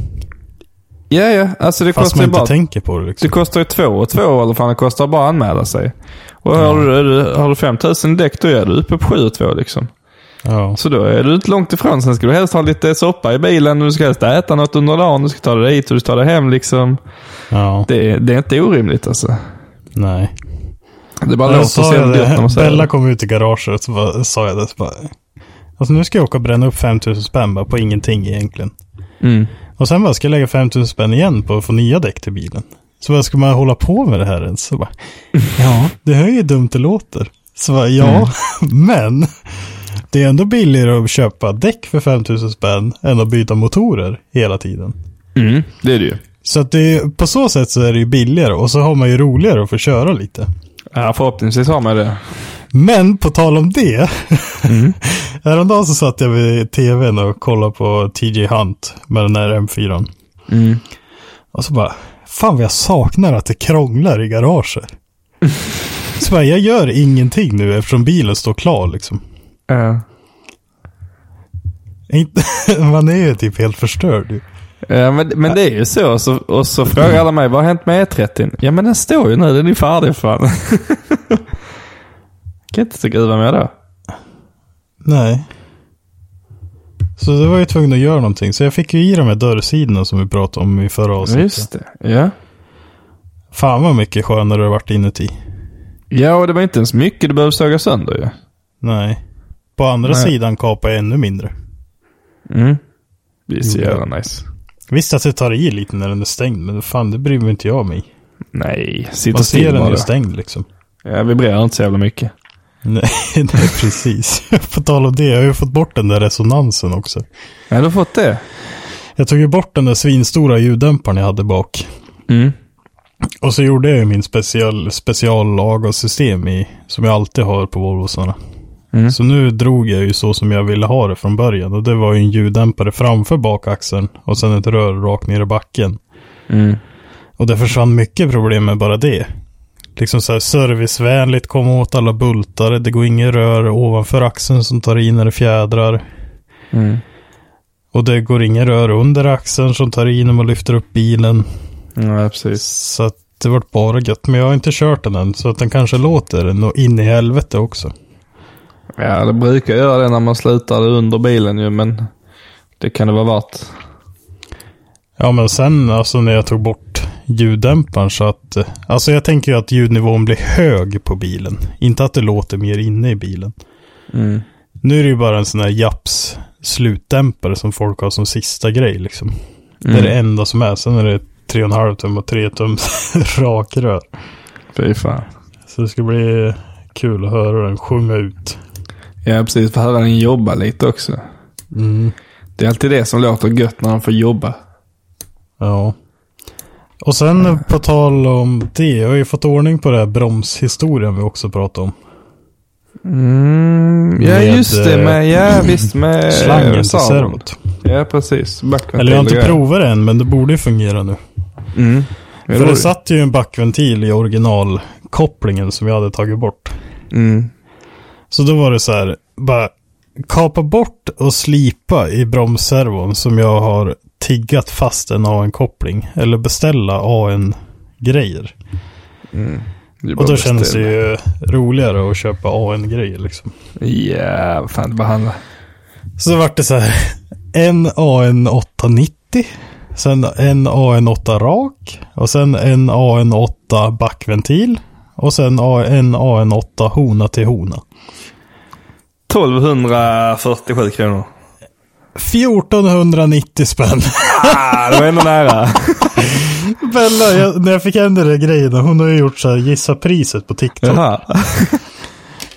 Ja, ja, alltså det
Fast
kostar
man
ju
inte
bara
tänker på det
Det
liksom.
kostar ju två och två eller vad fan det kostar bara att anmäla sig. Och har du, har du 5000 däck då är du uppe på 7 och 2 liksom.
Ja.
Så då är du inte långt ifrån. Sen ska du helst ha lite soppa i bilen och du ska helst äta något under dagen. Du ska ta dig dit och du tar dig hem liksom.
ja.
Det, är- det är inte orimligt alltså.
Nej.
Det bara
Jag
låter så
sa jag
jävla gött när man
det.
säger
Bella
det.
kom ut i garaget och så bara, sa jag det. Så bara, alltså nu ska jag åka och bränna upp 5000 spänn bara på ingenting egentligen.
Mm.
Och sen bara, ska jag lägga 5000 spänn igen på att få nya däck till bilen? Så vad ska man hålla på med det här ens? Så
*laughs*
bara, ja, det här är ju dumt det låter. Så bara, ja, *laughs*
Mm.
men det är ändå billigare att köpa däck för 5000 spänn än att byta motorer hela tiden.
Mm, det är det ju.
Så att det är, på så sätt så är det ju billigare och så har man ju roligare att få köra lite.
Ja, förhoppningsvis har man det.
Men på tal om det. *laughs* Häromdagen så satt jag vid tvn och kollade på TJ Hunt med den här M4. an.
Mm.
Och så bara, fan vad jag saknar att det krånglar i garaget. så bara, jag gör ingenting nu eftersom bilen står klar liksom.
Ja.
Inte- *laughs* Man är ju typ helt förstörd. ju.
Ja, men, men det är ju så. Och så, och så frågar alla mig, vad har hänt med E30? Ja, men den står ju nu. Den är färdig fan. *laughs* kan inte skruva med då.
Nej. Så då var jag tvungen att göra någonting. Så jag fick ju i de här dörrsidorna som vi pratade om i förra avsnittet.
Just det. Ja.
Fan vad mycket skönare det varit inuti.
ja, och det var inte ens mycket du behövde såga sönder ju.
Nej. På andra
Nej.
sidan kapar jag ännu mindre.
Mm. Det är så
Jo, ja.
jävla nice.
Visst att det tar i lite när den är stängd, men fan det bryr mig inte jag mig i.
Nej, sitter
Man ser
still
den
bara.
ju stängd liksom. *laughs*
Jag vibrerar inte så jävla mycket.
Nej, nej precis. *laughs* På tal om det, jag har ju fått bort den där resonansen också.
Ja, du har fått det.
Jag tog ju bort den där svinstora ljuddämparen jag hade bak.
Mm.
Och så gjorde jag ju min special, speciallag och system i, som jag alltid har på Volvosarna.
Mm.
Så nu drog jag ju så som jag ville ha det från början. Och det var ju en ljuddämpare framför bakaxeln och sen ett rör rakt ner i backen.
Mm.
Och det försvann mycket problem med bara det. Liksom så här servicevänligt, komma åt alla bultare, det går inget rör ovanför axeln som tar i när det fjädrar.
Mm.
Och det går inget rör under axeln som tar i när man lyfter upp bilen.
Ja, precis.
Så att det vart bara gött. Men jag har inte kört den än, så att den kanske låter nå in i helvete också.
Ja, det brukar göra det när man slutar under bilen ju, men det kan det vara värt.
Ja, men sen alltså när jag tog bort ljuddämparen så att... eh, Alltså jag tänker ju att ljudnivån blir hög på bilen. Inte att det låter mer inne i bilen.
Mm.
Nu är det ju bara en sån här Japs slutdämpare som folk har som sista grej liksom. Det är det enda som är. Sen är det 3,5 tum och 3 tum *laughs* rakrör.
Fy fan.
Så det ska bli kul att höra den sjunga ut.
Ja, precis. För höra den jobba lite också. Det är alltid det som låter gött när de får jobba.
Ja. Och sen eh, på tal om det. Jag har ju fått ordning på den här bromshistorien vi också pratade om.
Mm, ja,
Med,
just det.
eh,
Med, ja, visst. Med
Slangen till
servon.
servot.
Ja, precis. Backventil
Eller jag har
och
inte
grejer.
provat det än, men det borde ju fungera nu.
Mm. Ja,
För
var
det satt ju en backventil i originalkopplingen som jag hade tagit bort.
Mm.
Så då var det så här, bara kapa bort och slipa i bromsservon som jag har tiggat fast en AN-koppling. Eller beställa AN-grejer.
Det är bara
Och då
bäst
känns det
till.
ju roligare att köpa AN-grejer liksom.
Ja, vad fan det bara handlar.
Så vart det så här. En AN890. Sen en AN8 rak. Och sen en AN8 backventil. Och sen en AN8 hona till hona.
1247 kronor.
1490 spänn. *laughs*
Ah, det var ändå nära.
Bella, jag, när jag fick hem den där grejen, hon har ju gjort så här gissa priset på TikTok.
Jaha.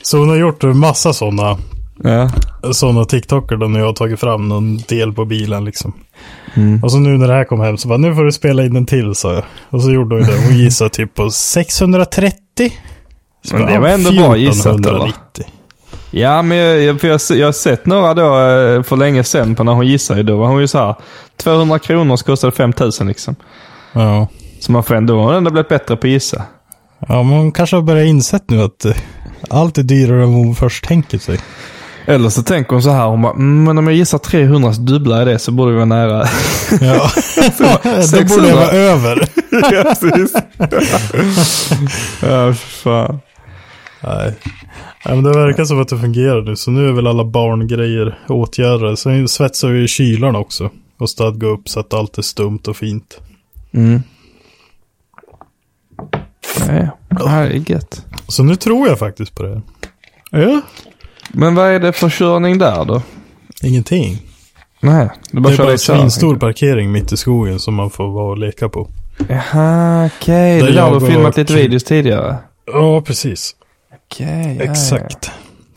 Så hon har gjort en massa sådana
Ja.
sådana TikToker då när jag har tagit fram någon del på bilen liksom. Och så nu när det här kom hem så bara, nu får du spela in en till sa jag. Och så gjorde hon ju det. Hon gissade typ på 630. Så
Men det
bara,
var ändå bra gissat, eller?
1490.
Ja, men jag, jag, för jag, jag har sett några då eh, för länge sedan på när hon gissade. Då var hon ju så här 200 kronor så kostade 5000 liksom.
Ja.
Så man får ändå, hon har ändå blivit bättre på att gissa.
ja, men hon kanske har börjat insett nu att eh, allt är dyrare än vad hon först tänker
*laughs*
sig.
Eller så tänker hon så här, hon bara, "Mm, men om jag gissar 300 så dubblar jag det så borde vi vara nära.
Ja. *laughs* Då borde
600.
jag vara över.
*laughs* ja, precis. ja, fan.
Nej. Nej, men det verkar som att det fungerar nu. Så nu är väl alla barngrejer åtgärdade. Sen svetsar vi ju kylarna också. Och stadga upp så att allt är stumt och fint.
Ja, ja. det här är gött.
Så nu tror jag faktiskt på det. Ja.
Men vad är det för körning där då?
Ingenting.
Nej, du bara
det är
kör
bara en
dig kär.
svinstor parkering mitt i skogen som man får vara och leka på.
Jaha, okej.
Där
Det där har
jag
du filmat
och-
lite videos tidigare.
Ja, precis.
Okej, ja,
Exakt.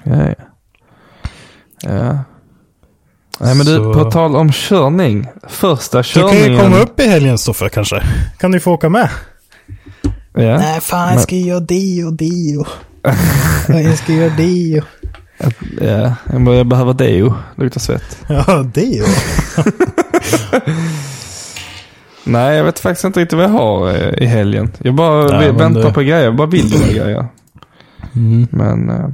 Ja, ja. ja. Nej, men du,
Så-
på tal om körning. Första
Du kan
körningen.
ju komma upp i helgen Stoffe kanske. Kan du få åka med?
Ja.
fan jag ska göra dio, dio. *laughs* jag ska göra dio.
ja. Jag bara- Jag behöver deo. Luktar svett.
Ja, dio.
Nej, jag vet faktiskt inte riktigt vad jag har eh, i helgen. Jag bara
Nej,
vi-
men
väntar
det-
på grejer. Jag bara vill göra grejer.
Mm.
Men, eh,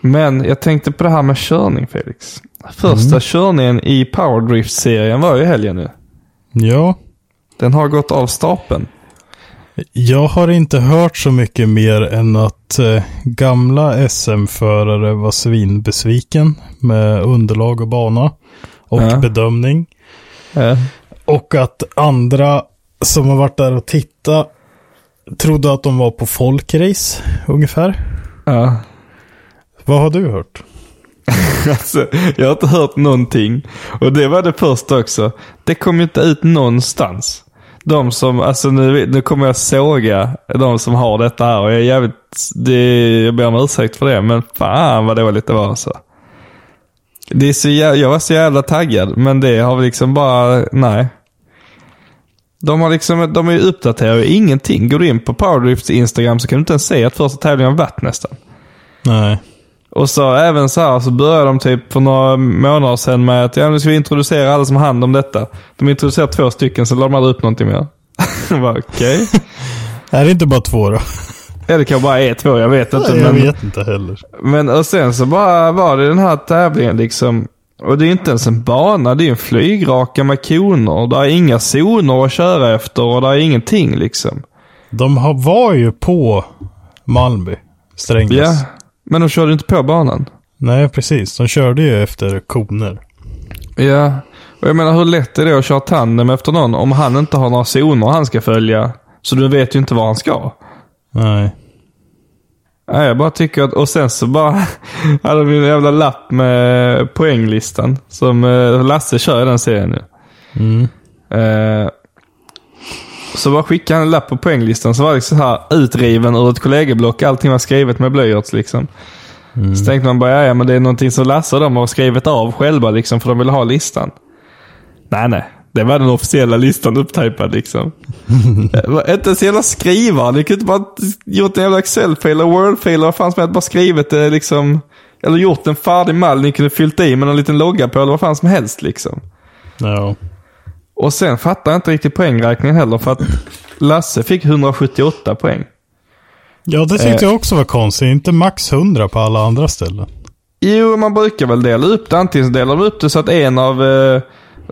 men jag tänkte på det här med körning, Felix. Första
Mm.
körningen i Powerdrift-serien var ju i helgen nu.
Ja.
Den har gått av stapeln.
Jag har inte hört så mycket mer än att eh, gamla SM-förare var svinbesviken med underlag och bana och
Ja.
bedömning.
Ja.
Och att andra som har varit där och tittat trodde att de var på folkrace ungefär.
ja.
Vad har du hört?
Alltså, jag har inte hört någonting. Och det var det första också. Det kom ju inte ut någonstans. De som, alltså nu, nu kommer jag såga de som har detta här och jag är jävligt, det, jag ber om ursäkt för det, men fan vad dåligt det var alltså. Det är så jävla, jag var så jävla taggad, men det har vi liksom bara, nej. De har liksom, de är ju uppdaterade, ingenting. Går du in på Powerdrifts Instagram så kan du inte ens se att första tävlingen varit nästan.
Nej.
Och så även så här så började de typ för några månader sedan med att ja, nu ska vi introducera alla som har hand om detta. De introducerar två stycken, så la de aldrig upp någonting mer. *laughs* Jag bara, Okej.
Är det inte bara två då?
Eller det kanske bara är två, jag vet inte.
Nej, jag
men,
vet inte heller.
men och sen så bara var det den här tävlingen liksom. Och det är ju inte ens en bana, det är ju en flygraka med koner. Där är inga zoner att köra efter och där är ingenting liksom.
De har, var ju på Malmby, Strängnäs.
Ja, men de körde ju inte på banan.
Nej, precis. De körde ju efter koner.
Ja, och jag menar hur lätt är det att köra tandem efter någon om han inte har några zoner han ska följa? Så du vet ju inte var han ska.
Nej.
Nej, jag bara tycker att... Och sen så bara *laughs* hade vi en jävla lapp med poänglistan. Som eh, Lasse kör i den serien nu. Eh, så bara skickade han en lapp på poänglistan så var det liksom så här utriven ur ett kollegieblock. Allting var skrivet med blyerts liksom. Så tänkte man bara, ja, ja men det är någonting som Lasse och de har skrivit av själva liksom för de vill ha listan. Nej, nej. Det var den officiella listan upptypad liksom. Det var inte ens jävla skrivaren. Ni kunde inte bara gjort en jävla Excel-fil eller Word-fil eller vad fan som helst. Bara skrivit det liksom. Eller gjort en färdig mall ni kunde fyllt i med en liten logga på eller vad fan som helst liksom.
Ja.
Och sen fattar jag inte riktigt poängräkningen heller för att Lasse fick 178 poäng.
Ja, det tyckte jag också var konstigt. Inte max 100 på alla andra ställen.
Jo, man brukar väl dela upp det. Antingen så delar de upp det så att en av... eh,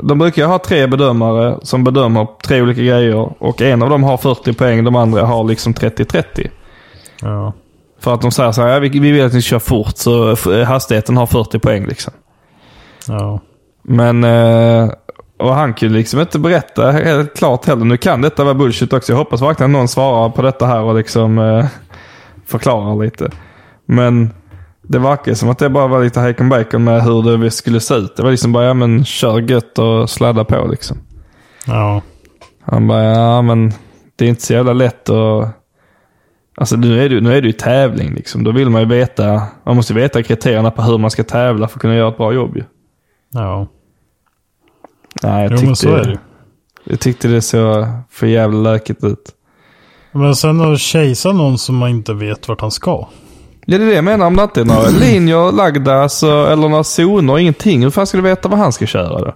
De brukar ha tre bedömare som bedömer tre olika grejer och en av dem har 40 poäng, de andra har liksom 30-30.
Ja.
För att de säger så här, ja, vi, vi vill att ni kör fort så f- eh, hastigheten har 40 poäng liksom.
Ja.
Men... Eh, och han kunde liksom inte berätta helt klart heller. Nu kan detta vara bullshit också. Jag hoppas verkligen någon svarar på detta här och liksom eh, förklarar lite. Men det verkar som att det bara var lite hejkon bacon med hur det skulle se ut. Det var liksom bara, ja men kör gött och sladda på liksom.
Ja.
Han bara, ja men det är inte så jävla lätt att... Alltså nu är det, nu är det ju tävling liksom. Då vill man ju veta, man måste ju veta kriterierna på hur man ska tävla för att kunna göra ett bra jobb ju.
Ja.
Nej, jag
Jo,
tyckte,
men så är det ju.
Jag tyckte det såg för jävla lökigt ut.
Men sen att kejsa någon som man inte vet vart han ska.
Ja, det är det jag menar. Om det inte är *clears throat* några linjer lagda så, eller några zoner, ingenting. Hur fan ska du veta vad han ska köra då?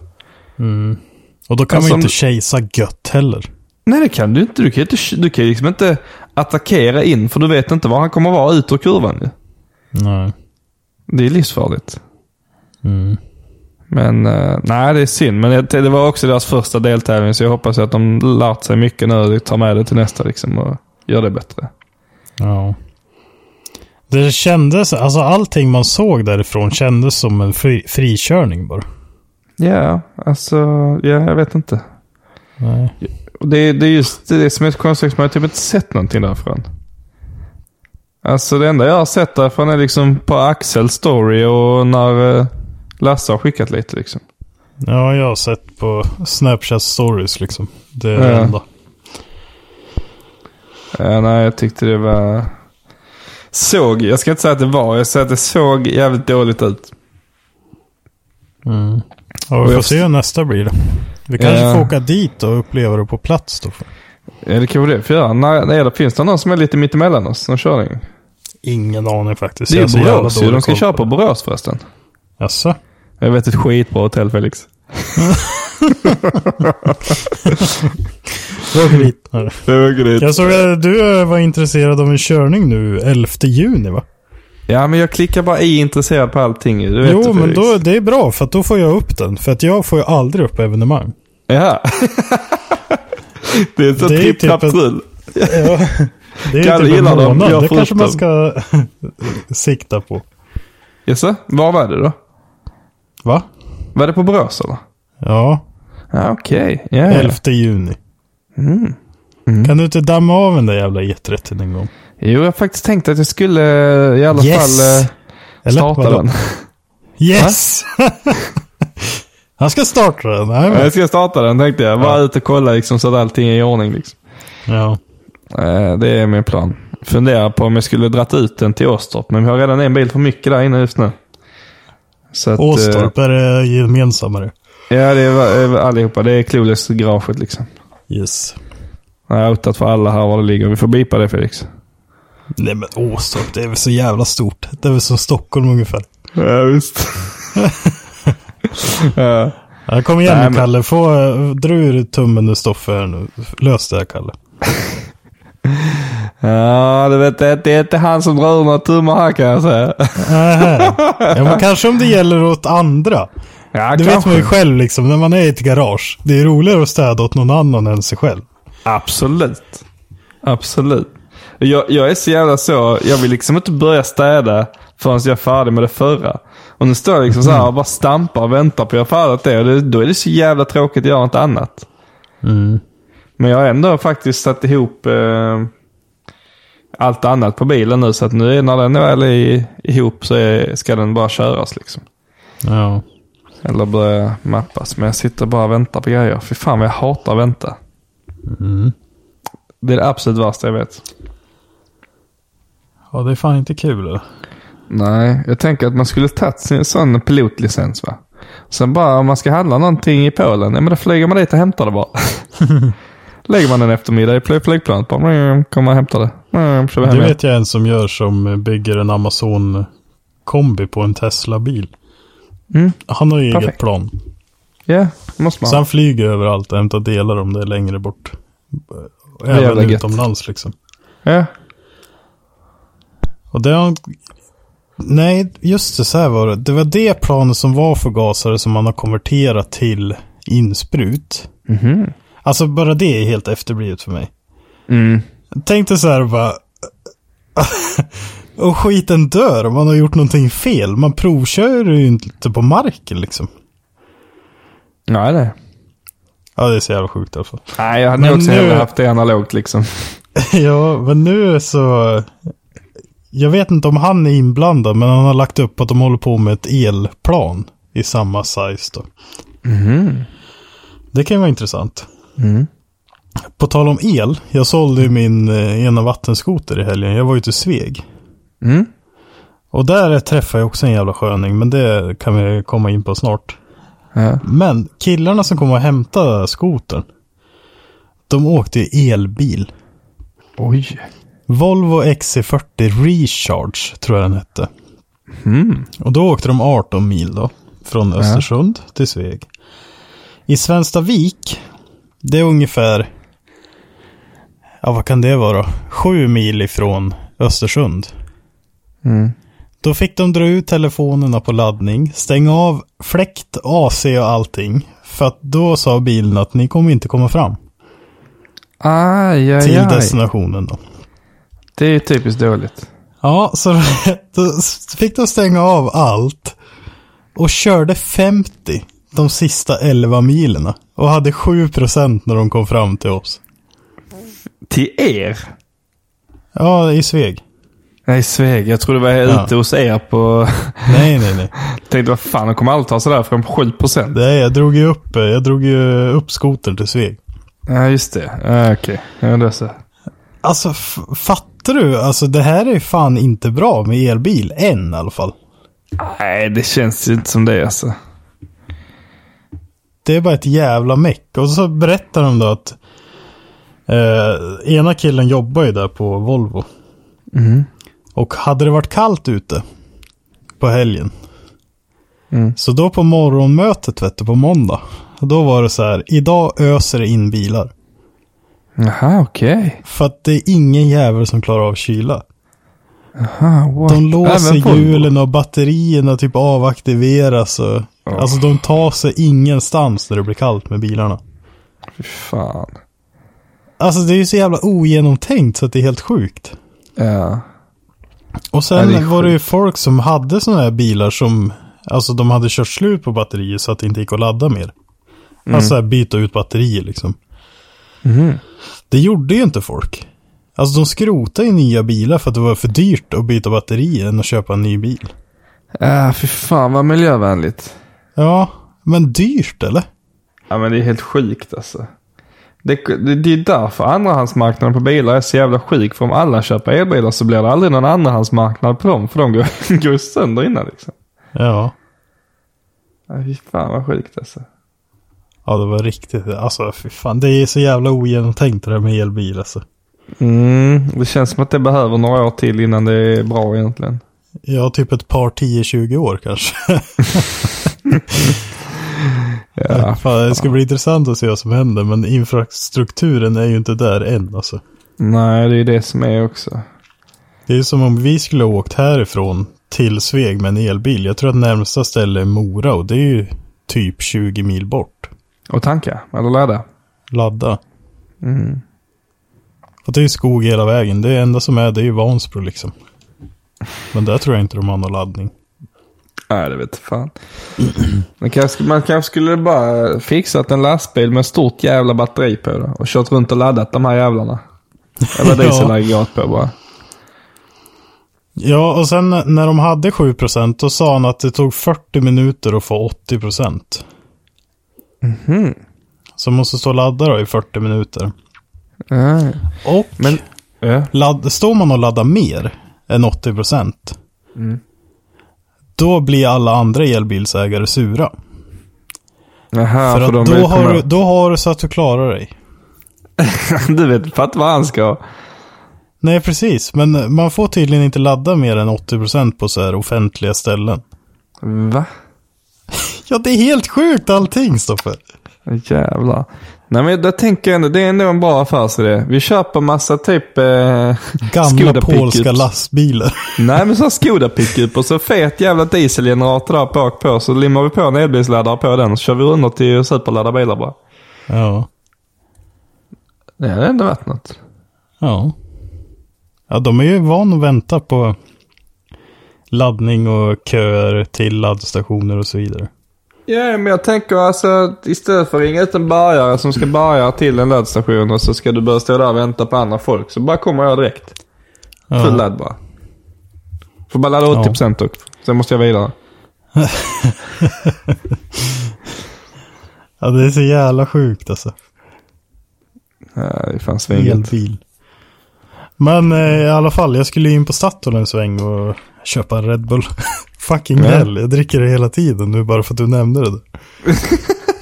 Och då kan
Alltså,
man ju
om-
inte kejsa gött heller.
Nej, det kan du inte. Du kan ju inte, du kan ju liksom inte attackera in, för du vet inte var han kommer vara ut ur kurvan ju.
Nej.
Det är livsfarligt.
Mm.
Men eh, nej, det är synd. Men det, det var också deras första deltävling, så jag hoppas att de lärt sig mycket nu och tar med det till nästa liksom, och gör det bättre.
Ja. Det kändes, alltså allting man såg därifrån kändes som en fri, frikörning bara.
Ja, alltså, ja, jag vet inte.
Nej.
Och det, det är just det som är så konstigt, man har typ inte sett någonting därifrån. Alltså det enda jag har sett därifrån är liksom på Axels story och när eh, Lasse har skickat lite liksom.
Ja, jag har sett på Snapchat stories liksom. Det är
Ja.
det enda.
Eh, nej, jag tyckte det var... Såg, jag ska inte säga att det var, jag säger att det såg jävligt dåligt ut.
Ja, vi får
jag-
se hur nästa blir då. Vi kanske
Ja.
får åka dit och uppleva det på plats då.
Ja, det kanske det får göra. Nej, nej, det finns det någon som är lite mittemellan oss som kör den?
Ingen aning faktiskt.
Det är
Jag
ju
så jävla
Borås ju.
dålig
De ska
koll
köra på Borås förresten.
Jaså?
Jag vet ett skitbra hotell, Felix.
Vi åker dit.
Det var
*laughs*
grymt.
Jag såg att du eh, var intresserad av en körning nu 11 juni va?
Ja, men jag klickar bara i intresserad på allting ju. Du vet
Jo,
det,
men
Felix.
då, det är bra för att då får jag upp den. För att jag får ju aldrig upp evenemang.
Ja. det är så
Det är
tripp,
typ
trapp,
ett-
trull. *laughs*
Det är
Kalle
typ en
gillar dem,
månad.
jag
Det
får
kanske
upp
man ska *laughs* sikta på.
Jaså, var var det då?
Va?
Var det på Borås eller?
Ja,
Ja, okej. Ja, Mm. ja.
11 juni. Kan du inte damma av den där jävla jeträtten en gång?
Jo, jag har faktiskt tänkt att jag skulle eh, i alla
Yes!
fall eh,
Eller?
starta
Vadå?
den. *laughs*
Yes! *laughs* Han ska starta den. Nej,
Ja,
men.
jag ska starta den tänkte jag. Bara ut och kolla liksom, så att allting är i ordning. Liksom.
Ja.
Eh, det är min plan. Funderar på om jag skulle dratt ut den till Åstorp, men vi har redan en bil för mycket där inne just nu. Så att, eh,
Åstorp är det gemensammare.
Ja, det är eh, allihopa. Det är Clueless-garaget liksom.
Yes.
Jag har outat för alla här var det ligger. Vi får bipa det Felix.
Nej men Åstorp, det är väl så jävla stort. Det är väl som Stockholm ungefär.
Ja, visst. *laughs* ja.
Ja, kom igen
Nej,
nu
men-
Kalle, få, eh, dra ur tummen ur stoffet här nu. Lös det här Kalle.
ja, du vet, det det är inte han som drar ur några tummar här kan jag säga.
Nähä. *laughs* ja, men kanske om det gäller åt andra.
Ja,
det vet
kanske.
man ju själv liksom, när man är i ett garage. Det är roligare att städa åt någon annan än sig själv.
Absolut. Absolut. Jag, jag är så jävla så, jag vill liksom inte börja städa förrän jag är färdig med det förra. Och nu står jag liksom så här och bara stampar och väntar på att jag har färdigt det. Och det, då är det så jävla tråkigt att göra något annat. Mm, Men jag har ändå faktiskt satt ihop eh, allt annat på bilen nu. Så att nu är- när den väl är ihop så är, ska den bara köras liksom.
Ja.
Eller börja mappas. Men jag sitter bara och väntar på grejer. Fy fan vad jag hatar att vänta. Det är det absolut värsta jag vet.
Ja, det är fan inte kul eller?
Nej, jag tänker att man skulle tagit sin sån pilotlicens va. Sen bara om man ska handla någonting i Polen, ja men då flyger man dit och hämtar
*laughs*
det bara. Lägger man en eftermiddag i fly- flygplanet, bara mm, kommer och hämtar det. Mm, kör vi hem
Det
igen.
vet jag en som gör som eh, bygger en Amazon-kombi på en Tesla-bil.
Mm.
Han har ju eget
Perfekt.
plan.
Ja, måste
Så
man.
han flyger överallt och hämtar delar om det är längre bort.
jävla
Även
gött.
utomlands liksom.
Ja.
Och det har han... Nej, just det, så här var det. Det var det planet som var förgasare som man har konverterat till insprut.
Mhm.
Alltså bara det är helt efterblivet för mig.
Mm.
Tänk dig så här bara... *laughs* Och skiten dör om man har gjort någonting fel. Man provkör ju inte på marken liksom.
Nej, nej.
Ja, det är så jävla sjukt alltså. i alla fall.
Nej, jag hade
Men
nog också
nu-
hellre haft det analogt liksom.
*laughs* Ja, men nu så... Jag vet inte om han är inblandad, men han har lagt upp att de håller på med ett elplan i samma size då.
Mhm.
Det kan ju vara intressant.
Mm.
På tal om el, jag sålde ju min eh, ena vattenskoter i helgen. Jag var ute i Sveg.
Mm.
Och där träffade jag också en jävla sköning, men det kan vi komma in på snart.
Ja.
Men killarna som kom och hämtade skotern, de åkte i elbil.
Oj.
Volvo XC40 Recharge tror jag den hette.
Hmm.
Och då åkte de 18 mil då. Från Östersund till Sveg. I Svenstavik, det är ungefär, ja vad kan det vara? Sju mil ifrån Östersund.
Mm.
Då fick de dra ut telefonerna på laddning, stänga av fläkt, AC och allting. För att då sa bilen att ni kommer inte komma fram
Aj, aj,
till
aj.
destinationen då.
Det är ju typiskt dåligt.
Ja, så då *laughs* fick de stänga av allt och körde 50 de sista 11 milerna och hade 7% när de kom fram till oss.
Till er?
Ja, i Sveg.
Nej, Sveg. Jag trodde det var
Ja.
ute hos er på... *laughs*
Nej, nej, nej.
Tänkte vad fan, de kommer aldrig ta sig därifrån på 7 procent.
nej jag drog ju upp, jag drog ju upp skotern till Sveg.
Ja, just det. Ja, Okej, ja, det är så.
Alltså, f- fattar du? Alltså, det här är fan inte bra med elbil. Än i alla fall.
Nej, det känns ju inte som det alltså.
Det är bara ett jävla meck. Och så berättar de då att eh, ena killen jobbar ju där på Volvo. Och hade det varit kallt ute på helgen. Så då på morgonmötet vet du, på måndag. Då var det så här, idag öser det in bilar.
Jaha, okej.
För att det är ingen jävel som klarar av kyla.
Ah, what?
De låser
Även Volvo?
hjulen och batterierna typ avaktiveras. Och, Alltså de tar sig ingenstans när det blir kallt med bilarna.
Fy fan.
Alltså det är ju så jävla ogenomtänkt så att det är helt sjukt.
Ja.
Och
Ja,
sen
det är
var det ju folk som hade sådana här bilar som, alltså de hade kört slut på batterier så att det inte gick att ladda mer.
Mm.
Alltså så här, byta ut batterier liksom.
Mhm.
Det gjorde ju inte folk. Alltså de skrotade ju nya bilar för att det var för dyrt att byta batterier än att köpa en ny bil.
Ja, fy fan vad miljövänligt.
Ja, men dyrt eller?
Ja, men det är helt sjukt alltså. Det, det, det är därför andrahandsmarknaden på bilar är så jävla sjuk. För om alla köper elbilar så blir det aldrig någon andrahandsmarknad på dem. För de går, *laughs* går ju sönder innan liksom.
Ja.
Ja, fy fan vad sjukt alltså.
Ja, det var riktigt. Alltså fy fan, det är så jävla ogenomtänkt det där med elbil alltså.
Mm, det känns som att det behöver några år till innan det är bra egentligen.
Ja, typ ett par 10-20 år kanske.
Ja,
Fan, det ska bli intressant att se vad som händer, men infrastrukturen är ju inte där än alltså.
nej, det är det som är också.
Det är ju som om vi skulle ha åkt härifrån till Sveg med en elbil. Jag tror att närmsta ställe är Mora och det är ju typ 20 mil bort.
Och tanka, eller ladda.
Ladda. Och det är ju skog hela vägen. Det enda som är det är ju Vansbro liksom. Men där tror jag inte de har någon laddning.
Nej, det vet fan. Man kanske, man kanske skulle bara fixat en lastbil med stort jävla batteri på det och kört runt och laddat de här jävlarna.
*laughs*
Eller
Ja.
dieselaggregat på bara.
Ja, och sen när de hade 7% då sa han att det tog 40 minuter att få 80%. Mm.
Mhm.
Så måste stå och ladda då i 40 minuter.
Ja.
Och
Ah. Men, ja.
ladd, står man och laddar mer än 80%
Mm.
då blir alla andra elbilsägare sura.
Jaha,
för
för, de
att
vill
då har,
komma-
du, då har du så att du klarar dig.
*laughs* Du vet, fatta vad han ska.
Nej, precis. Men man får tydligen inte ladda mer än 80% på så här offentliga ställen.
Va?
Ja, det är helt sjukt allting, Stoffe.
Jävlar. Nej men det tänker jag ändå, det är ändå en bra affärsidé. Vi köper massa typ... Eh,
*laughs* Gamla
Skoda
polska
pickups.
lastbilar.
Nej men så här Skoda pickup och så fet jävla dieselgenerator där bak på. Så limmar vi på en elbilsladdare på den och så kör vi under till superladda bilar bara.
*laughs* Ja.
Det hade ändå varit något.
Ja. Ja, de är ju van att vänta på laddning och köer till laddstationer och så vidare.
Ja, men jag tänker alltså att istället för att ringa ut en bärgare som ska bärga till en laddstation och så ska du börja stå där och vänta på andra folk. Så bara kommer jag direkt. Full
Ja,
ladd bara. Får bara ladda 80% upp. Sen måste jag vidare.
ja det är så jävla sjukt alltså.
Ja, det är fan svinget.
Elbil. Men eh, i alla fall, jag skulle ju in på Statoil en sväng och köpa en Red Bull. *laughs* Fucking
Ja.
hell, jag dricker det hela tiden nu bara för att du nämnde
*laughs*
det. där.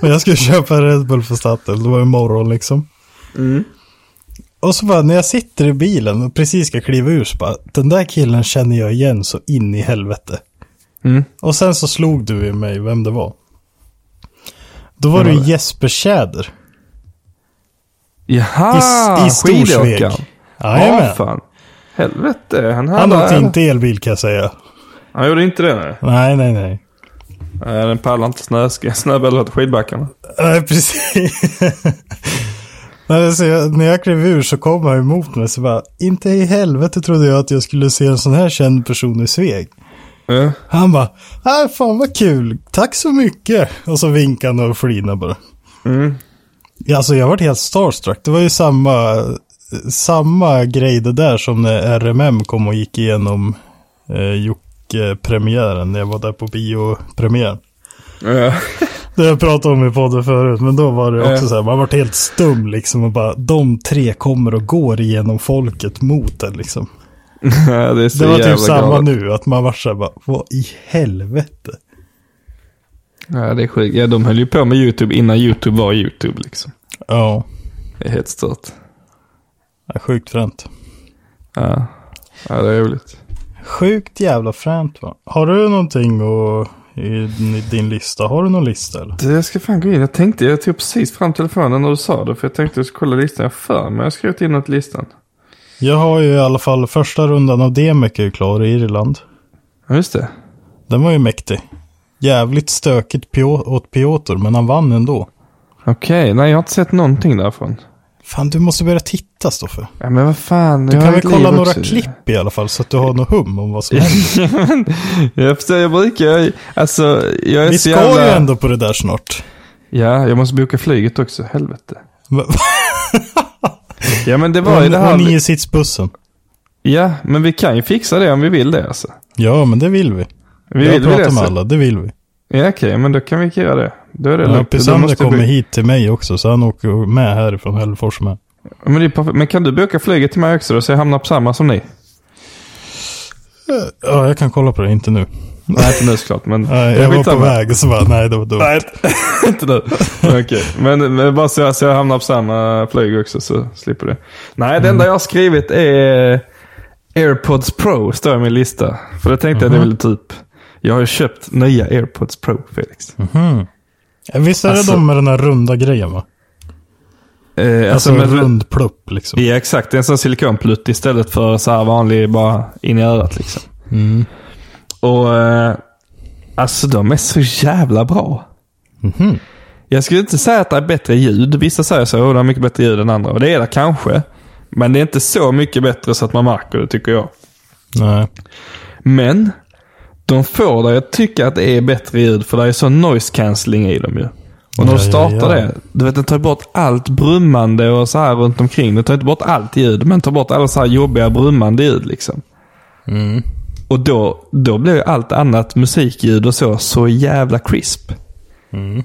Men jag skulle köpa en Red Bull på Statoil, det var ju morgon liksom.
Mm.
Och så bara när jag sitter i bilen och precis ska kliva ur så bara, den där killen känner jag igen så in i helvete.
Mm.
Och sen så slog du i mig vem det var. Då var det
Vem
ju
var det?
Jesper Tjäder. I,
Jaha!
i Ah, Storsveg.
skidåkaren. Ja,
Jajamän.
fan. Helvete. Han,
Han
hade-
åkte inte elbil kan jag säga.
Han gjorde inte det nu.
Nej, nej, nej.
Nej, den pallar inte snösk- snöbältet åt skidbackarna.
Nej, precis. *laughs* Nej, så jag, när jag klev ur så kom han emot mig så bara, inte i helvete trodde jag att jag skulle se en sån här känd person i Sveg.
Ja. *laughs*
Han bara, äh, fan vad kul, tack så mycket. Och så vinkade han och flinade bara.
Mm.
Ja, Alltså jag vart helt starstruck. Det var ju samma, samma grej det där som när RMM kom och gick igenom eh, Jocke-premiären, när jag var där på biopremiären.
Ja.
Det har jag pratat om i podden förut, men då var det också
Ja.
så här, man vart helt stum liksom och bara, de tre kommer och går igenom folket mot den liksom.
Ja, det är så
Det var
jävla
typ samma
galet.
nu, att man vart så här bara, vad i helvete?
Ja, det är sjukt. Ja, de höll ju på med YouTube innan YouTube var YouTube liksom.
Ja,
Det är helt stört.
ja, sjukt fränt.
Ja. ja, det är roligt.
Sjukt jävla fränt va. Har du någonting och, i, i din lista? Har du någon lista eller?
Du, Jag ska fan gå in. Jag tänkte, jag tog precis fram telefonen när du sa det. För jag tänkte jag skulle kolla listan jag för men jag har skrivit in något i listan.
Jag har ju i alla fall första rundan av Demek är ju klar i Irland.
Ja, just det.
Den var ju mäktig. Jävligt stökigt pio- åt Piotr, men han vann ändå.
Okej, nej jag har inte sett någonting därifrån.
Fan, du måste börja titta Stoffe.
Ja, men vad fan.
Du
jag
kan
har
väl
ett
kolla
liv
några
också. *laughs*
klipp i alla fall så att du har något hum om vad som händer.
Jag förstår, jag brukar, jag, alltså jag är
Vi
så
ska
jävla...
ju ändå på det där snart.
Ja, jag måste boka flyget också, helvete.
Men-
Ja men det var ju det
Och
här.
niositsbussen.
Ja, men vi kan ju fixa det om vi vill det alltså.
Ja, men det vill vi.
Vi
jag
vill
pratar
det,
med
så-
alla, det vill vi.
Ja okej, men då kan vi göra det. Då är det
Ja,
lugnt. Då
Pisander
måste
kommer
vi-
hit till mig också, så han åker med härifrån Hällefors med.
Ja, Men, det är perfekt. men kan du boka flyget till mig också då så jag hamnar på samma som ni?
Ja, jag kan kolla på det, inte nu.
Nej inte nu såklart, men...
Nej, jag var på
Skitsamma.
väg och så bara, nej det var dumt.
Nej, *laughs* inte nu. Okej, men, men bara så jag, så jag hamnar på samma flyg också så slipper du. Nej, det
Mm.
enda jag har skrivit är AirPods Pro, står i min lista. För det tänkte
Mhm.
jag att jag ville typ... Jag har ju köpt nya AirPods Pro, Felix.
Mm. Visst är det
Alltså-
de med den här runda grejen va?
Eh,
Alltså,
alltså, men-
en rund plupp liksom.
Ja, exakt. Det är en sån silikonplutt istället för så här vanlig bara in i örat liksom. Och eh, alltså de är så jävla bra. Jag skulle inte säga att det är bättre ljud. Vissa säger så, oh, det är mycket bättre ljud än andra. Och det är det kanske. Men det är inte så mycket bättre så att man märker det tycker jag.
Nej.
Men de får dig att tycka att det är bättre ljud för det är sån noise cancelling i dem ju. Och när du
Ja, ja,
startar
ja.
det, du vet den tar bort allt brummande och så här runt omkring. Den tar inte bort allt ljud, men tar bort alla så här jobbiga brummande ljud liksom.
Mm.
Och då, då blir ju allt annat musikljud och så, så jävla crisp.
Mm.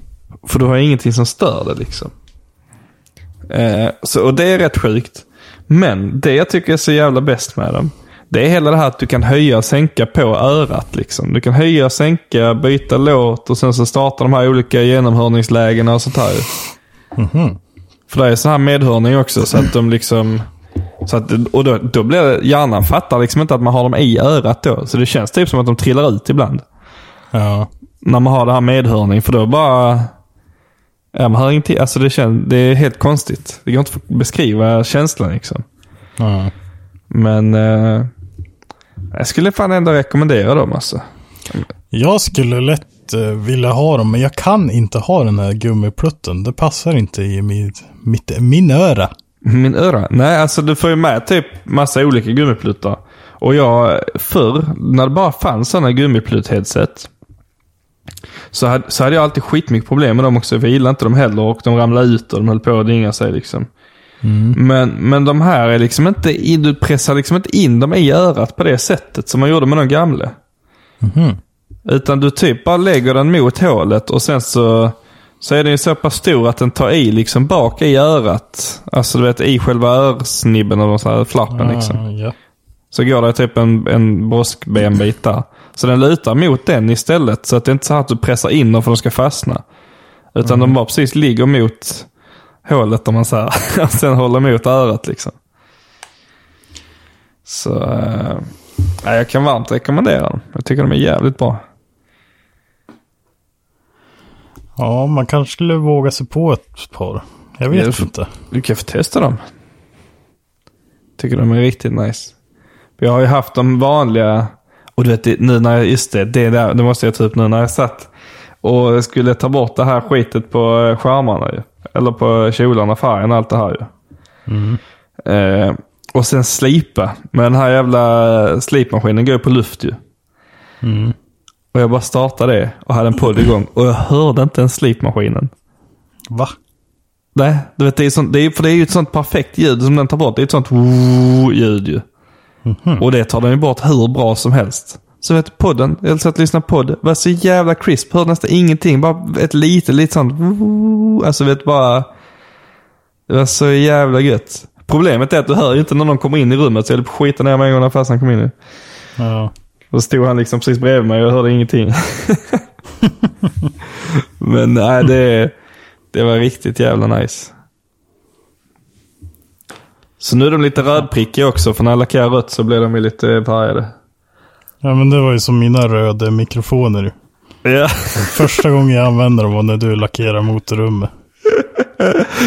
För du har ingenting som stör det liksom. Eh, så, och det är rätt sjukt. Men det jag tycker är så jävla bäst med dem, det är hela det här att du kan höja och sänka på örat. Liksom. Du kan höja och sänka, byta låt och sen så starta de här olika genomhörningslägena och sånt här. För det är så här medhörning också, så att de liksom... Så att, och då, då blir det, hjärnan fattar liksom inte att man har dem i örat då. Så det känns typ som att de trillar ut ibland.
Ja.
När man har det här medhörning, för då bara... Ja, man hör ingenting. Alltså det, känns, det är helt konstigt. Det går inte att beskriva känslan liksom.
ja.
Men eh, jag skulle fan ändå rekommendera dem alltså.
Jag skulle lätt eh, vilja ha dem, men jag kan inte ha den här gummiplutten. Det passar inte i mitt, mitt, min öra.
Min öra? Nej, alltså du får ju med typ massa olika gummipluttar. Och jag, förr, när det bara fanns sådana gummiplutt-headset. Så hade, så hade jag alltid skitmycket problem med dem också. För jag gillade inte dem heller och de ramlade ut och de höll på att dynga sig liksom. Men, men de här är liksom inte, i- du pressar liksom inte in dem i örat på det sättet som man gjorde med de gamla. Utan du typ bara lägger den mot hålet och sen så, så är den ju så pass stor att den tar i liksom bak i örat. Alltså du vet i själva örsnibben eller så här flappen liksom.
Ah, ja.
Så går det typ en, en broskbenbit där. Så den lutar mot den istället. Så att det är inte så här att du pressar in dem för att de ska fastna. Utan de bara precis ligger mot hålet om man säger. *laughs* Och sen håller mot örat liksom. Så eh, ja, jag kan varmt rekommendera dem. Jag tycker de är jävligt bra.
ja, man kanske skulle våga sig på ett par. Jag vet
Ja, för-
inte.
Du kan få testa dem. Tycker de är riktigt nice. Jag har ju haft de vanliga. Och du vet, det- nu när jag, just det, det, där, det måste jag ta upp nu när jag satt och skulle ta bort det här skitet på eh, skärmarna ju. Eller på kjolarna, färgen och allt det här ju. Eh, och sen slipa. Men den här jävla eh, slipmaskinen går ju på luft ju. Och jag bara startade det och hade en podd igång och jag hörde inte ens slipmaskinen.
Va?
Nej, du vet, det är, sånt, det är, för det är ju ett sånt perfekt ljud som den tar bort. Det är ett sånt ljud ju. Och det tar den ju bort hur bra som helst. Så vet podden, jag satt och lyssnade på det, var så jävla crisp. Hörde nästan ingenting. Bara ett litet, litet sånt Alltså vet bara. Det var så jävla gött. Problemet är att du hör ju inte när någon kommer in i rummet. Så jag höll på att skita ner mig en gång när farsan kom in. ju.
Ja.
Då stod han liksom precis bredvid mig och jag hörde ingenting. *laughs* Men nej, det, det var riktigt jävla nice. Så nu är de lite rödprickiga också, för när jag lackerar rött så blir de ju lite färgade.
ja, men det var ju som mina röda mikrofoner. ju.
Ja.
Första gången jag använde dem var när du lackerade motorrummet.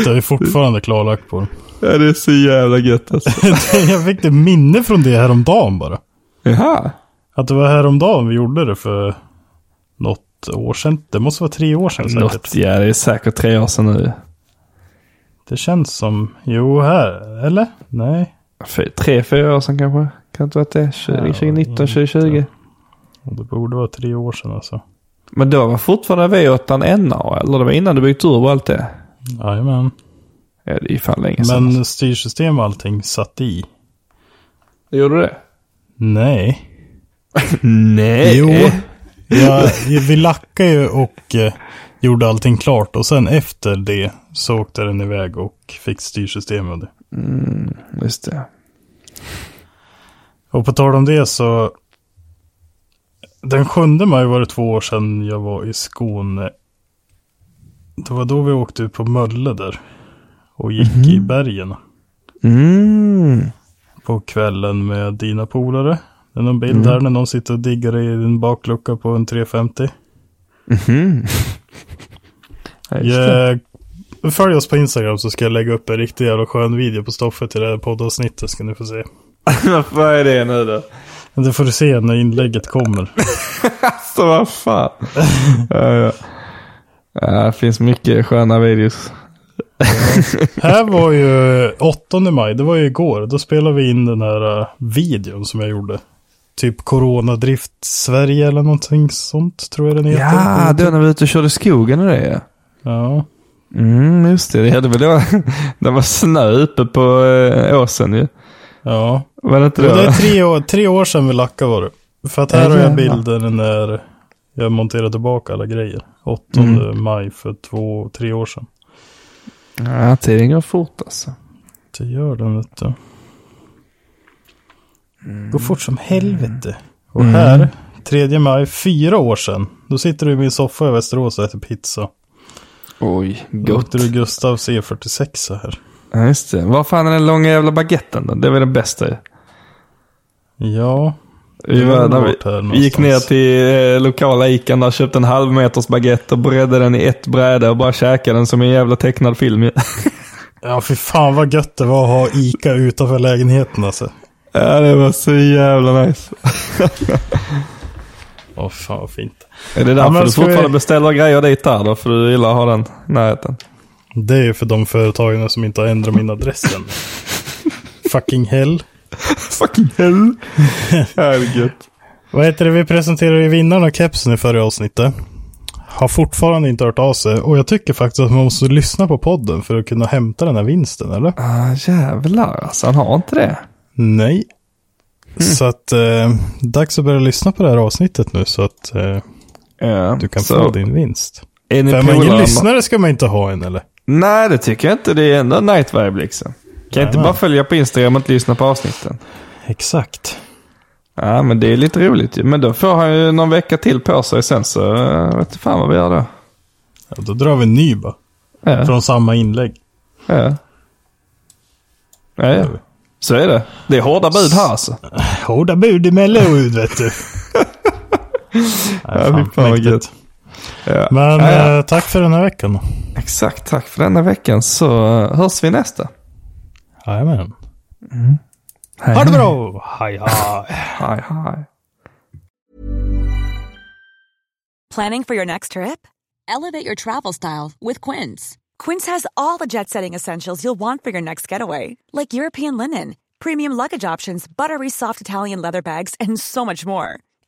Jag är fortfarande klarlack på dem. *laughs*
ja, det är så jävla gött alltså.
Jag fick det minne från det häromdagen bara.
Jaha.
Att det var häromdagen vi gjorde det för något år sedan. Det måste vara tre år sedan säkert.
Något, Alltså, ja, det är säkert tre år sedan nu.
Det känns som, jo här, eller? Nej.
Fy, tre, fyra år sedan kanske. Kan inte vara att det är 20, 2019, 2020.
Det borde vara tre år sedan alltså.
Men då var fortfarande V8 NA, eller det var innan du byggde turbo och allt det.
Jajamän.
Ja, det är ju fan länge sedan.
Men styrsystem och allting satt i.
Gjorde du det?
Nej.
Nej.
Jo. Ja, vi lackade ju och eh, gjorde allting klart och sen efter det så åkte den iväg och fick styrsystem och det.
Just det.
Och på tal om det så. Den 7 maj var det två år sedan jag var i Skåne. Det var då vi åkte ut på Mölle där. Och gick i bergen.
Mm.
På kvällen med dina polare. Det är någon bild här när någon sitter och diggar i en baklucka på en 350.
Mhm. *laughs* Ja, just det.
Jag, Eh, följ oss på Instagram så ska jag lägga upp en riktig jävla skön video på Stoffe till det här poddavsnittet ska ni få se.
vad är det nu då?
Men Det får du se när inlägget kommer.
Så
*laughs*
vad fan. ja, ja. Ja, det finns mycket sköna videos.
här var ju 8 maj, det var ju igår. Då spelade vi in den här eh, videon som jag gjorde. Typ Coronadrift Sverige eller någonting sånt tror jag den heter.
Ja, då när vi var ute och körde i skogen och det. ja.
ja.
Mm, just det. Det hade väl då. det var snö uppe på eh, åsen ju.
ja.
Var det inte
Jo, det är
då?
tre år, tre år sedan vi lackade var det. För att här har jag bilder när jag monterade tillbaka alla grejer. 8
Mm.
maj för två, tre år sedan.
Ja, tiden går fort alltså.
Det gör den vet du. Går fort som helvete. Och här, 3 maj, fyra år sedan. Då sitter du i min soffa i Västerås och äter pizza.
Oj,
Då
gott.
åkte du Gustav C46 här.
Ja, just det. Var fan är den långa jävla baguetten då? Det var den bästa ju.
Ja,
Vi,
Det
var,
var
när
vart här
vi, vi gick ner
någonstans.
till eh, lokala Ican där, köpte en halv meters baguette och bredde den i ett bräde och bara käkade den som en jävla tecknad film. *laughs* ju.
ja fy fan vad gött det var att ha Ica utanför lägenheten alltså.
ja, det var så jävla nice.
Åh fan vad fint.
Är det
men
därför du
ska
fortfarande
vi-
beställer grejer dit där då? För du gillar att ha den i närheten?
Det är ju för de företagen som inte har ändrat min adress än. Fucking hell.
Fucking *laughs* hell. Herregud.
Vad heter det? Vi presenterade ju vinnaren av kepsen i förra avsnittet. Har fortfarande inte hört av sig. Och jag tycker faktiskt att man måste lyssna på podden för att kunna hämta den här vinsten, eller?
Ah, jävlar alltså, han har inte det.
Nej.
Mm.
Så att eh, dags att börja lyssna på det här avsnittet nu så att eh,
Ja,
du kan
så-
få din vinst.
Är ni
För man ingen
polare?
lyssnare ska man inte ha en eller?
Nej, det tycker jag inte. Det är ändå night vibe liksom. Kan jag inte
Jajamän.
bara följa på Instagram och inte lyssna på avsnitten?
Exakt.
Ja, men det är lite roligt ju. Men då får han ju någon vecka till på sig sen så eh, vet du fan vad vi gör då.
Ja, då drar vi en ny bara.
Ja,
Från samma inlägg.
ja. Ja, ja. Så är det. Det är hårda bud här alltså.
Hårda bud i Mellerud vet
*laughs*
du. Nej,
fy fan vad
mäktigt.
gött. Ja.
Men
ja, ja.
eh, tack för den här veckan.
Exakt, tack för denna veckan så eh, hörs vi nästa.
Jajamän. Ha det bra! Hej hej!
Hej, hej.
Planning for your next trip?
Elevate your travel style with Quince.
Quince has all the jet setting essentials you'll want for your next getaway, like European linen, premium luggage options, buttery soft Italian leather bags, and so much more.